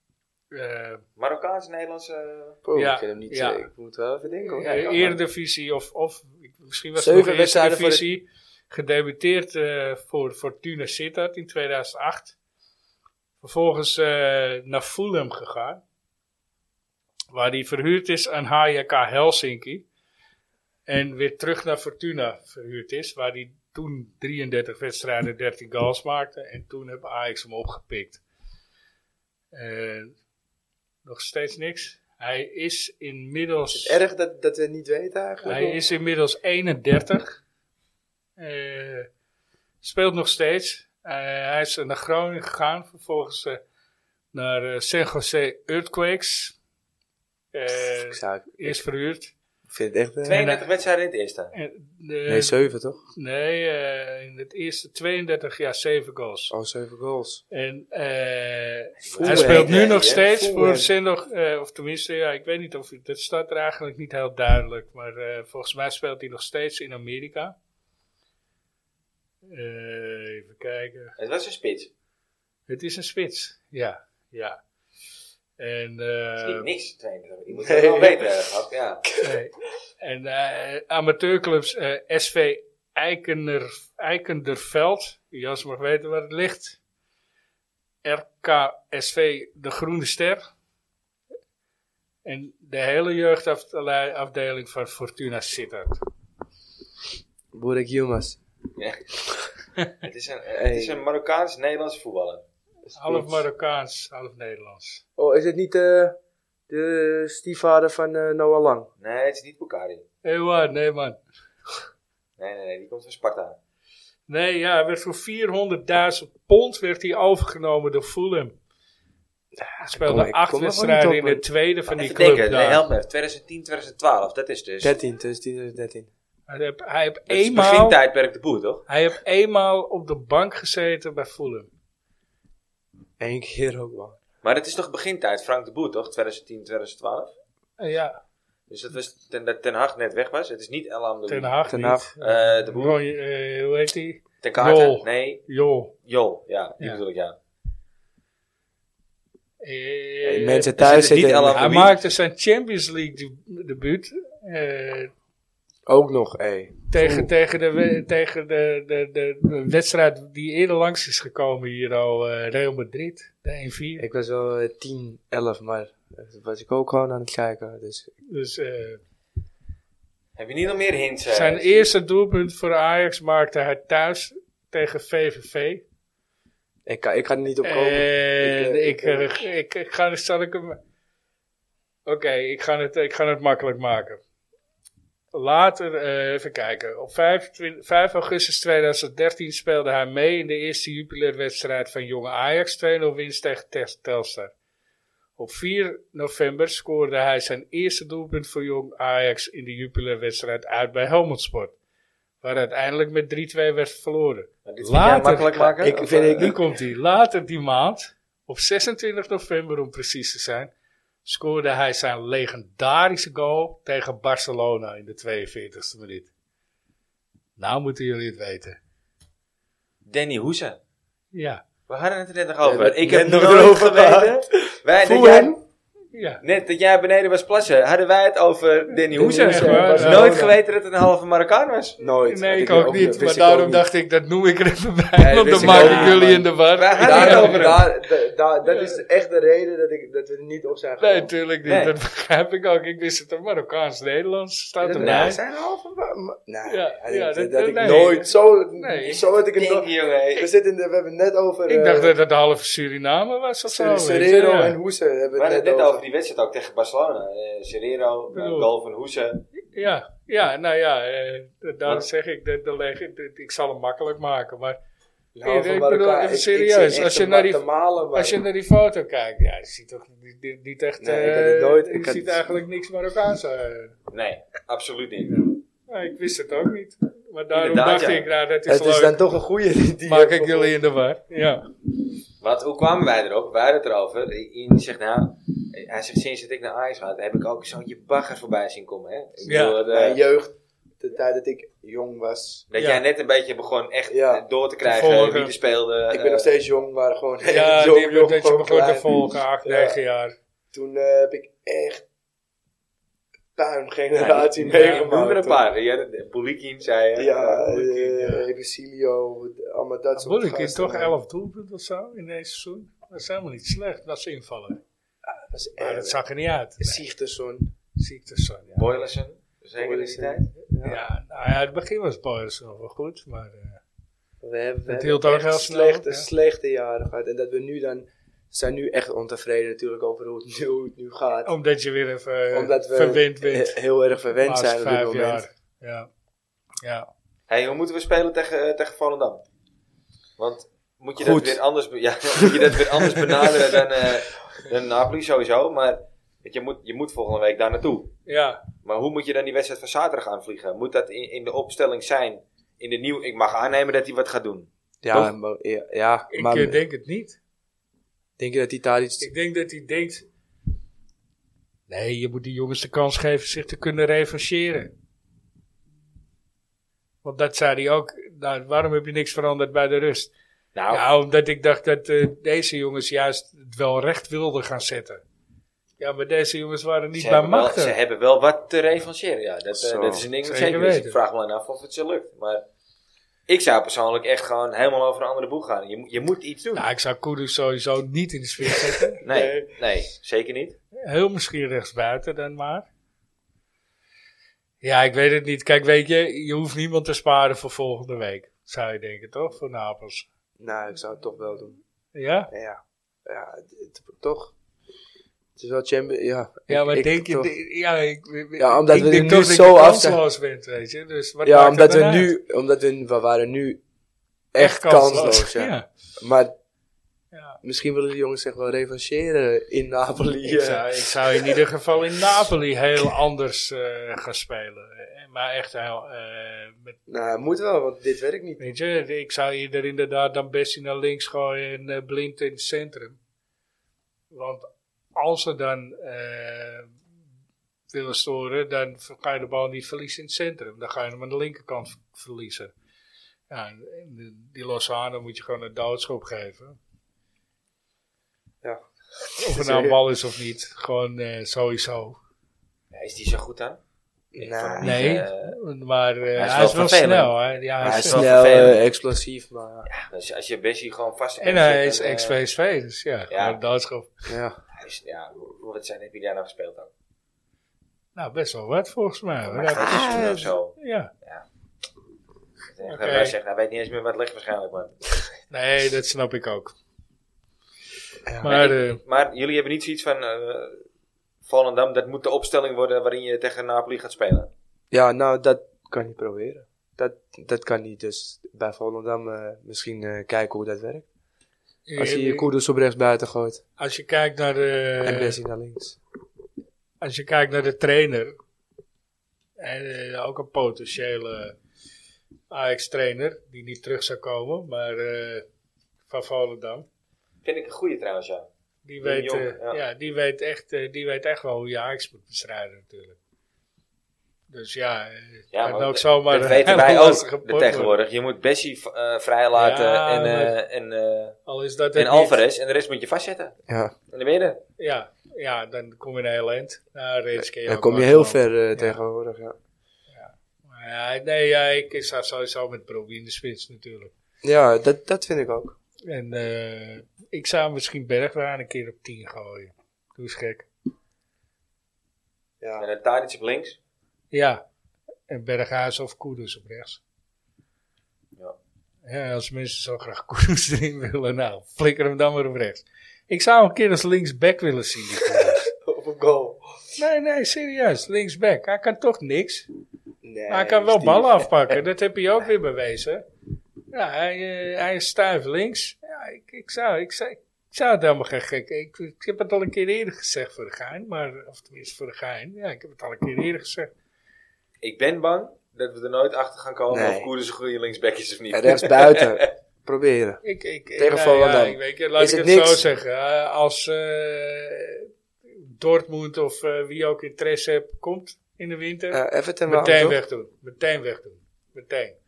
Eh, Marokkaans, Nederlands. eh, Poeh, Ja, ik kan hem niet ja. zeggen. Ik moet wel even denken hoor. Ja, kan eh, maar. Eredivisie of, of misschien was het Zeven nog wedstrijden voor de- Eredivisie. Gedebuteerd eh, voor Fortuna Sittard in 2008. Vervolgens eh, naar Fulham gegaan. Waar hij verhuurd is aan HJK Helsinki. En weer terug naar Fortuna verhuurd is. Waar hij toen 33 wedstrijden 13 goals maakte. En toen heb Ajax hem opgepikt. Eh, nog steeds niks. Hij is inmiddels... Is het erg dat, dat we het niet weten eigenlijk? Hij is inmiddels 31. Eh, speelt nog steeds. Eh, hij is naar Groningen gegaan. Vervolgens eh, naar eh, San Jose Earthquakes. Eh, Ik, zou, eerst verhuurd. ik vind het echt... eh, 32 wedstrijden in het eerste. En, eh, nee, 7 toch? nee, eh, in het eerste 32 jaar 7 goals. Oh, 7 goals. En eh, hij Fulham, speelt nu hè, nog hè? steeds Fulham. voor Sindog, eh of tenminste, ja, ik weet niet of dat staat er eigenlijk niet heel duidelijk, maar eh, volgens mij speelt hij nog steeds in Amerika. Eh, even kijken. Het was een spits. Het is een spits, ja, ja. En, eh, Het is niet niks, 32. Je moet het wel weten. Gap, Ja. nee. en eh, amateurclubs eh, SV Eikener, Eikenderveld. Jas mag weten waar het ligt. RKSV De Groene Ster. En de hele jeugdafdeling van Fortuna Sittard. Boerek Yilmaz. Ja. het is een, eh, het is een Marokkaans-Nederlands voetballer. Half Marokkaans, half Nederlands. Oh, is het niet eh, de stiefvader van eh Noah Lang? Nee, het is niet Bukari. Hé wat, nee man. Nee, nee, nee, die komt van Sparta. Nee, ja, hij werd voor 400.000 pond werd hij overgenomen door Fulham. Hij kom- speelde ik acht kom er gewoon wedstrijden niet in op, de man. tweede van die Even club. denken, nee, daar. help me. 2010, 2012, dat is dus. 13, 2010, 13. Hij heeft, hij heeft dat is het eenmaal, begintijdperk de boer, toch? hij heeft eenmaal op de bank gezeten bij Fulham. Eén keer ook wel. Maar het is toch begintijd, Frank de Boer, toch? 2010, 2012. Eh, ja, Dus dat was ten, dat Ten Hag net weg was. Het is niet Elam de Ten Boer. Hag. Ten niet. Hag. Eh, de Boer. Roy, eh, hoe heet hij? Ten Kaarten. Jol. Nee, Jol. Jol. Ja, die Ja. bedoel ik, ja. Eh, Hey, mensen dus het thuis is niet zitten El hij Hamdoui. maakte zijn Champions League de- debuut eh, ook nog, hé. tegen, tegen, de, we- tegen de, de, de, de wedstrijd die eerder langs is gekomen hier al. eh, Real Madrid, de 1-4. Ik was wel eh, 10, 11, maar eh, was ik ook gewoon aan het kijken. Dus Dus eh, Heb je niet nog meer hints? eh? Zijn eerste doelpunt voor Ajax maakte hij thuis tegen VVV. ik, kan- ik ga er niet op komen. En ik, Ik, eh, eh, ik, ik ga, zal ik hem. Oké, ik, ga het- ik ga het makkelijk maken. Later, eh, even kijken. Op 25 5 augustus 2013 speelde hij mee in de eerste jubileurwedstrijd van jonge Ajax. 2-0 winst tegen Tel- Telstar. Op 4 november scoorde hij zijn eerste doelpunt voor jong Ajax in de jubileurwedstrijd uit bij Helmond Sport. Waar uiteindelijk met 3-2 werd verloren. Maar dit vind jij Later. makkelijk maken? Ik Of, vind eh, ik Nu komt hij. Later die maand, op 26 november om precies te zijn, scoorde hij zijn legendarische goal tegen Barcelona in de 42e minuut. Nou moeten jullie het weten. Danny Hoese. Ja. We hadden het er net nog Ja, over. dat- ik heb net nog nog nooit erover geweten. gehad. Wij, dat Voel jij, hem. Ja. net dat jij beneden was plassen, hadden wij het over Danny Hoesen. Hoesen, ja, Ik had ja. nooit geweten dat het een halve Marokkaan was. Nooit. Nee, ik Had ook niet. wist Maar ik daarom ook niet. dacht ik, dat noem ik er even bij. dat want wist ik dan maak ook ik niet, jullie man. in de war. Wij hadden het Daarom, over hem. daar, da- da- dat is echt de reden dat, ik, dat we niet op zijn Nee, gekomen. natuurlijk niet. Nee. Dat begrijp ik ook. Ik wist het ook. Marokkaans-Nederlands staat Dat- erbij. we zijn halve wa- ma- Nee, Ja, dat, ja, dat, dat- ik nee. nooit. Zo, Nee. zo had ik het Denk, nooit. jongen. We, zitten in de- we hebben het net over. Ik eh, dacht dat het half Suriname was of zo. weet je. Serrero Ja. en Hoese hebben We we hadden het het net over. over die wedstrijd ook tegen Barcelona. Eh Serrero, eh, Bedoel. goal van Hoesen. Ja, ja, nou ja, eh, d- daarom Wat? zeg ik, dat, dat leg ik, dat- ik zal hem makkelijk maken. Maar Nou, Ik- van ik Marokkaan. bedoel, even Ik- ik serieus, zit echt als je te naar die- malen, maar- als je naar die foto kijkt, ja, je ziet toch niet, niet- niet echt, Nee, ik had eh, het nooit- ik je had ziet het- eigenlijk niks Marokkaans. eh. Nee, absoluut niet. Nou, ik wist het ook niet. Maar daarom Inderdaad, dacht ja. ik, nou, dat is Het is leuk. dan toch een goeie die- die Maak ik jullie in de war. Ja. Wat, hoe kwamen wij erop? Wij hadden het erover. Ian zegt nou, hij zegt sinds dat ik naar Ajax ga, heb ik ook zo'n je bagger voorbij zien komen. Hè? Ik Ja. bedoel, eh, Mijn jeugd, de tijd dat ik jong was. dat Ja. jij net een beetje begon echt Ja. eh, door te Te krijgen volgen. wie er speelde. Ik eh, ben nog steeds jong, maar gewoon echt Ja, jong, die hebben jong, dat je gewoon begon te klein. volgen, 8, Ja. 9 jaar. Toen eh, heb ik echt puingeneratie ja, meegemaakt. noem er een hoor. paar. Ja, de- Bulikin zei je. Ja, Boelikin, ja. eh, Ebesilio, allemaal dat soort Moeilijk, Ah, is gasten. toch 11 doelpunten of zo in deze seizoen? Dat is helemaal niet slecht, dat is invallen. Dat is Maar Ah, dat zag er niet uit. Nee. Zichterson. Ziektes zijn, ja. Boylerson, zeker in die Boylerson. tijd. Ja, nou ja, het begin was Boyers nog wel goed, maar... eh, We hebben, we Het hebben hield ook echt heel snel slechte, op, ja. slechte jaren gehad. En dat we nu dan... We zijn nu echt ontevreden natuurlijk over hoe het nu, hoe het nu gaat. Omdat je weer even Omdat we Oh, eh, verwend bent. eh, heel erg de verwend laatste zijn op dit vijf moment. jaar. Ja. ja. Hey, hoe moeten we spelen tegen, eh, tegen Volendam? Want moet je, Goed. dat weer, anders, be- ja, moet je dat weer anders benaderen dan, eh dan Napoli sowieso. Maar weet je moet, je moet volgende week daar naartoe. Ja. Maar hoe moet je dan die wedstrijd van zaterdag aanvliegen? Moet dat in, in de opstelling zijn? In de nieuw, ik mag aannemen dat hij wat gaat doen. Ja, Toch? maar, ja, ja, Ik maar eh, denk het niet. denk je dat die daar iets... Ik denk dat hij denkt... Nee, je moet die jongens de kans geven zich te kunnen revancheren. Want dat zei hij ook. Nou, waarom heb je niks veranderd bij de rust? Nou, Ja, omdat ik dacht dat eh, deze jongens juist het wel recht wilden gaan zetten. Ja, maar deze jongens waren niet ze, bij hebben wel, ze machten. hebben wel wat te revancheren. Ja, dat, eh, Zo, dat is een ding dat zeker zeker is. Ik weten. vraag me dan af of het ze lukt. Maar ik zou persoonlijk echt gewoon helemaal over een andere boeg gaan. Je, moet- je moet iets doen. Nou, ik zou Kudus sowieso niet in de sfeer zetten. nee, nee, zeker niet. Heel misschien rechtsbuiten dan maar. Ja, ik weet het niet. Kijk, weet je, je hoeft niemand te sparen voor volgende week. Zou je denken, toch? Voor Napels. Nou, ik zou het toch wel doen. Ja? Ja, ja het- het- toch. Het is wel champion... Ja, Ja, ik- maar ik denk je... toch- de- ja, ik, Ja, omdat ik we denk er toch nu dat zo je af zijn. kansloos bent, weet je. Dus wat maakt Ja, het omdat we dan uit? nu... Omdat we, we waren nu echt kansloos, ja. ja. Maar Ja. misschien willen de jongens zich wel revancheren in Napoli. Ik, eh. zou, ik zou in ieder geval in Napoli heel anders eh, gaan spelen. Eh, Maar echt heel... eh, met, Nou, moet wel, want dit werkt niet. weet je, ik zou je er inderdaad dan best in naar links gooien en eh, blind in het centrum. Want als ze dan eh, willen storen, dan ga je de bal niet verliezen in het centrum. Dan ga je hem aan de linkerkant v- verliezen. Ja, en die- die Lozano moet je gewoon een doodschop geven. Ja. Of het nou een bal is of niet. Gewoon eh, sowieso. Is die zo goed dan? Nee. vond hem Nee, niet, eh, maar eh, hij, is is wel wel vervelend. snel. Hè? Ja, hij Hij is is wel snel, vervelend. eh, explosief, maar Dus als je Bessie gewoon vast En eh, hij is ex-PSV, dus ja, Ja. gewoon doodschap. ja. eh, hij is- ja, hoe- hoe- wat zijn, heb je daar nou gespeeld dan? Nou, best wel wat volgens mij. Oh hoor. Maar Ja, ah, of zo. ja. Oké. Hij zegt, hij weet niet eens meer wat ligt waarschijnlijk, man. Nee, dat snap ik ook. Ja. Maar eh, Maar jullie hebben niet zoiets van... eh Volendam, dat moet de opstelling worden waarin je tegen Napoli gaat spelen. Ja, nou, dat kan je proberen. Dat, dat kan niet, dus bij Volendam eh, misschien eh, kijken hoe dat werkt. Als je je koerders op rechts buiten gooit eh, als je kijkt naar en de, Bessie naar links. als je kijkt naar de trainer, en, eh, ook een potentiële Ajax-trainer, die niet terug zou komen, maar eh, van Volendam. Vind ik een goede trouwens, ja. Die Die weet, jongen, eh, ja. ja. die, weet echt, eh, die weet echt wel hoe je Ajax moet bestrijden natuurlijk. Dus ja, eh, Ja, kan maar ook dat- zomaar dat een weten hele wij lastige ook pot eh, worden. tegenwoordig. Je moet Bessie eh, vrijlaten Ja, en, eh, maar- en, eh, Al is dat het en niet. Alvarez. En de rest moet je vastzetten. Ja, In de midden. Ja, ja, dan kom je een heel eind. Nou, Reds kun je dan ook kom je wel heel gewoon- ver eh, tegenwoordig. Ja. Maar Ja, nee, ja, ik sta sowieso met Broby in de spits natuurlijk. Ja, dat, dat vind ik ook. En eh, ik zou misschien Bergwijn een keer op 10 gooien. Doe eens gek. En Ja. dan Tadic op links. Ja, en Berghuis of Koeders op rechts. Ja. Ja, als mensen zo graag Koeders erin willen, nou, flikker hem dan maar op rechts. Ik zou hem een keer als linksback willen zien. die Koeders. Op een goal. nee, nee, serieus, linksback. Hij kan toch niks. Nee, Maar hij kan wel Steve. ballen afpakken, dat heb je ook weer bewezen. Ja, hij, eh, hij is stijf links. Ja, ik, ik, zou, ik, zou, ik zou het helemaal geen gek. Ik, ik heb het al een keer eerder gezegd voor de gein, maar, of tenminste voor de gein. Ja, ik heb het al een keer eerder gezegd. Ik ben bang dat we er nooit achter gaan komen Nee. of Koerders een goede linksback is of niet. En Rechts buiten. Proberen. Ik, ik, ik- Tegen nou ja, Volendam. ik weet, laat Is ik het het niks? zo zeggen. Eh, als eh, Dortmund of eh, wie ook interesse heeft, komt in de winter. Ja, Everton wel. meteen Eh, toch? wegdoen. Meteen wegdoen. Meteen.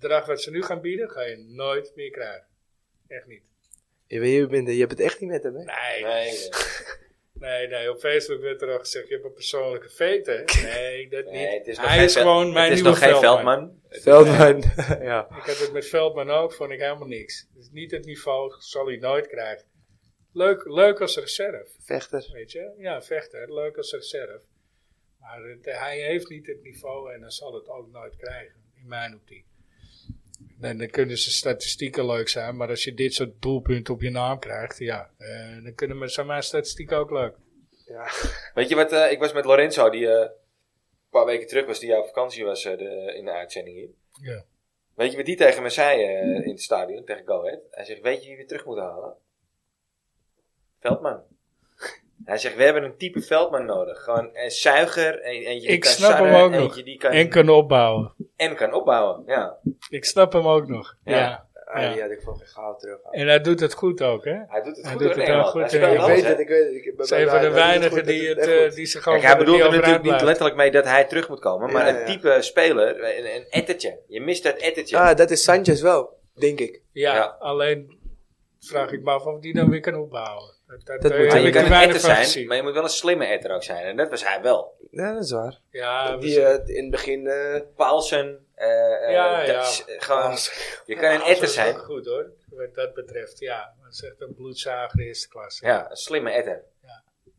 Het bedrag wat ze nu gaan bieden, ga je nooit meer krijgen. Echt niet. Je, bent- je, bent, je hebt het echt niet met hem, hè? Nee, nee, Nee, nee. nee, Op Facebook werd er al gezegd, je hebt een persoonlijke vete. hè? Nee, dat niet. Nee, het is nog Hij geen is Vel- gewoon mijn het is nieuwe nog geen Veldman. Veldman. Veldman. ja. Ik had het met Veldman ook, vond ik helemaal niks. Dus niet het niveau, zal hij nooit krijgen. Leuk, leuk als reserve, Vechter. weet je. Ja, vechter, leuk als reserve. Maar het- hij heeft niet het niveau en dan zal het ook nooit krijgen, in mijn optiek. En dan kunnen ze statistieken leuk zijn, maar als je dit soort doelpunten op je naam krijgt, ja, eh, dan kunnen mijn- zijn mijn statistieken ook leuk. Ja. Weet je wat, eh, ik was met Lorenzo, die eh, een paar weken terug was, die jou op vakantie was eh, de, in de uitzending hier. Ja. Weet je wat die tegen me zei eh, in het stadion, tegen Go Ahead? Hij zegt, weet je wie we terug moeten halen? Veldman. Hij zegt, we hebben een type Veldman nodig. Gewoon een zuiger, een, eentje die Ik kan snap hem sarren, ook nog. eentje die kan, En kan opbouwen. en kan opbouwen. Ja. Ik snap hem ook nog. Ja. Ja. Ah, Ja. Die had ik voor geen goud terug. En hij doet het goed ook, hè? Hij doet het Hij goed doet hoor, het Nederland. heel goed, Hij ja. speelt Ik alles, weet hè? weet het. Ik Dat is een van de weinigen die, het, eh, die zich gewoon Kijk, hij voor de bedoelt er overeind natuurlijk niet blijft. letterlijk mee dat hij terug moet komen, maar Ja, een ja. type speler, een, een ettertje. Je mist dat ettertje. Ah, dat is Sanchez wel, denk ik. Ja, Ja. alleen vraag ik me af of die dan weer kan opbouwen. Dat, dat, Dat eh, Maar moet heb hij. je ik kan er een etter weinig van zijn, gezien. maar je moet wel een slimme etter ook zijn. En dat was hij wel. Ja, dat is waar. Ja, we die zijn- eh, in het begin... eh, Paulsen, eh, eh, Ja, dat ja. is, eh, gewoon, je kan Paulsen een etter is zijn. ook goed hoor, wat dat betreft. Ja, dat is echt een bloedzager eerste klasse. Ja, een slimme etter.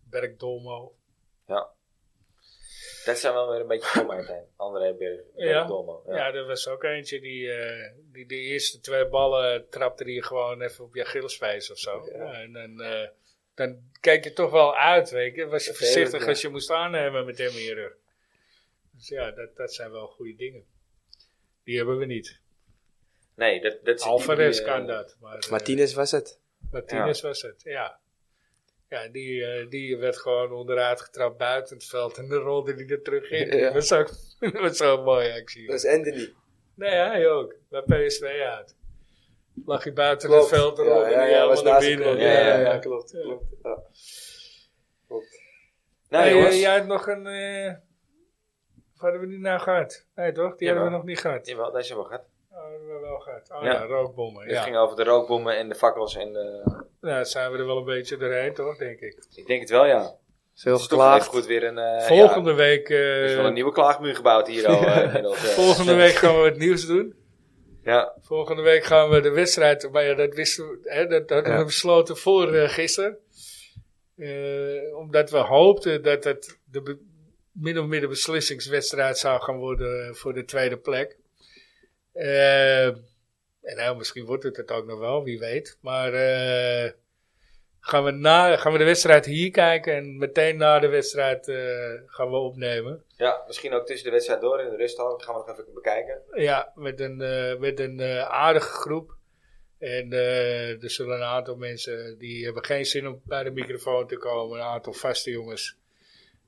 Bergdolmo. Dat zijn wel weer een beetje voor mij zijn. André Berg, Ja. Dolmo. Ja. Ja. er was ook eentje die, eh, die de eerste twee ballen trapte die je gewoon even op je gilleswijs of zo. En dan, eh, dan keek je toch wel uit, weet je. Was je Vervelend, voorzichtig ja. als je moest aannemen met hem in je rug. Dus ja, dat, dat zijn wel goede dingen. Die hebben we niet. Nee, dat, dat is Alvarez die, eh, kan dat. Maar, eh, Martinez was het. Martinez was het, ja. Ja, die, eh, die werd gewoon onderuit getrapt buiten het veld en dan rolde hij er terug in. Ja. Dat was ook dat was zo'n mooie actie. Dat is Anthony. Nee, hij ook. Bij PSV uit. Lag hij buiten Klopt. het veld en Ja, rolde ja, hij ja, was helemaal naar naast de binnen. goal. Ja, ja, ja, klopt. Ja. klopt. Ja. Nou Hey, jongens, eh, jij hebt nog een... eh of hadden we die nou gehad? Nee toch? Jawel. Die hebben we nog niet gehad. jawel, deze hebben we gehad. Oh, die hebben we wel gehad. Oh Ja. ja, rookbommen. Het Ja. ging over de rookbommen en de fakkels en eh, Nou, zijn we er wel een beetje doorheen toch, denk ik. ik denk het wel ja. Veel Het is toch even geklaagd. goed weer een... eh, Volgende week... ja, er is eh, wel een nieuwe klaagmuur gebouwd hier al eh, inmiddels. eh. Volgende week gaan we het nieuws doen. Ja, Volgende week gaan we de wedstrijd. Maar ja, dat wisten we. Hè, dat dat hadden we Ja. besloten voor eh, gisteren. Eh, omdat we hoopten dat het de be- min of meer de beslissingswedstrijd zou gaan worden eh, voor de tweede plek. Eh, en nou, misschien wordt het het ook nog wel, wie weet. Maar eh, gaan, we na, gaan we de wedstrijd hier kijken en meteen na de wedstrijd eh, gaan we opnemen. ja, misschien ook tussen de wedstrijd door in de rust al. Gaan we nog even bekijken. Ja, met een, eh, met een eh, aardige groep. En eh, er zullen een aantal mensen die hebben geen zin om bij de microfoon te komen. Een aantal vaste jongens.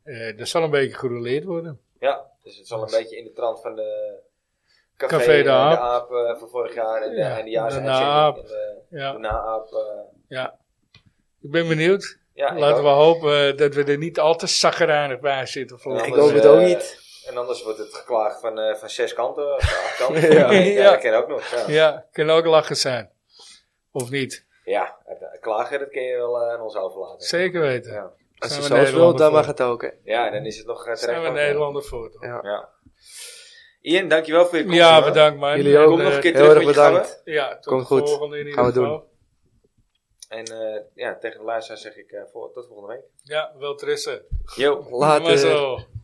Eh dat zal een beetje gerouleerd worden. Ja, dus het zal een beetje in de trant van de Café, Café de eh, Aap. eh, van vorig jaar en de, Ja, en de jaarse de uitzending Aap. en de- de Ja, Na-Aap. eh, ja. Ik ben benieuwd. ja, ik Laten we ook. hopen eh, dat we er niet al te zagrijnig bij zitten. Ja, volgende Ik Anders, hoop week. het ook eh, niet. En En anders wordt het geklaagd van, eh, van zes kanten, of acht kanten. Ja. ja. dat ken je ook nog. Ja, ja. Ja, kan ook lachen zijn. Of niet? het, eh, klagen dat kun je wel eh, aan ons overlaten. Zeker weten. Ja. Als je Zijn we zo speelt, Nederlander dan mag voor? het ook. hè. ja, dan is het nog eh, Daar zijn terecht. we ook, Nederlander voor. toch? Ja. ja. Ja. Ian, dankjewel voor je komst. Ja, hoor. bedankt man. Jullie ook. eh, Kom nog een keer Heel terug erg met je gangen. bedankt. Ja, tot Komt de goed. volgende in ieder Gaan we geval. En eh, ja, tegen de luisteraar zeg ik eh, voor, tot volgende week. Ja, wel trussen. Yo. Doe maar Later. zo.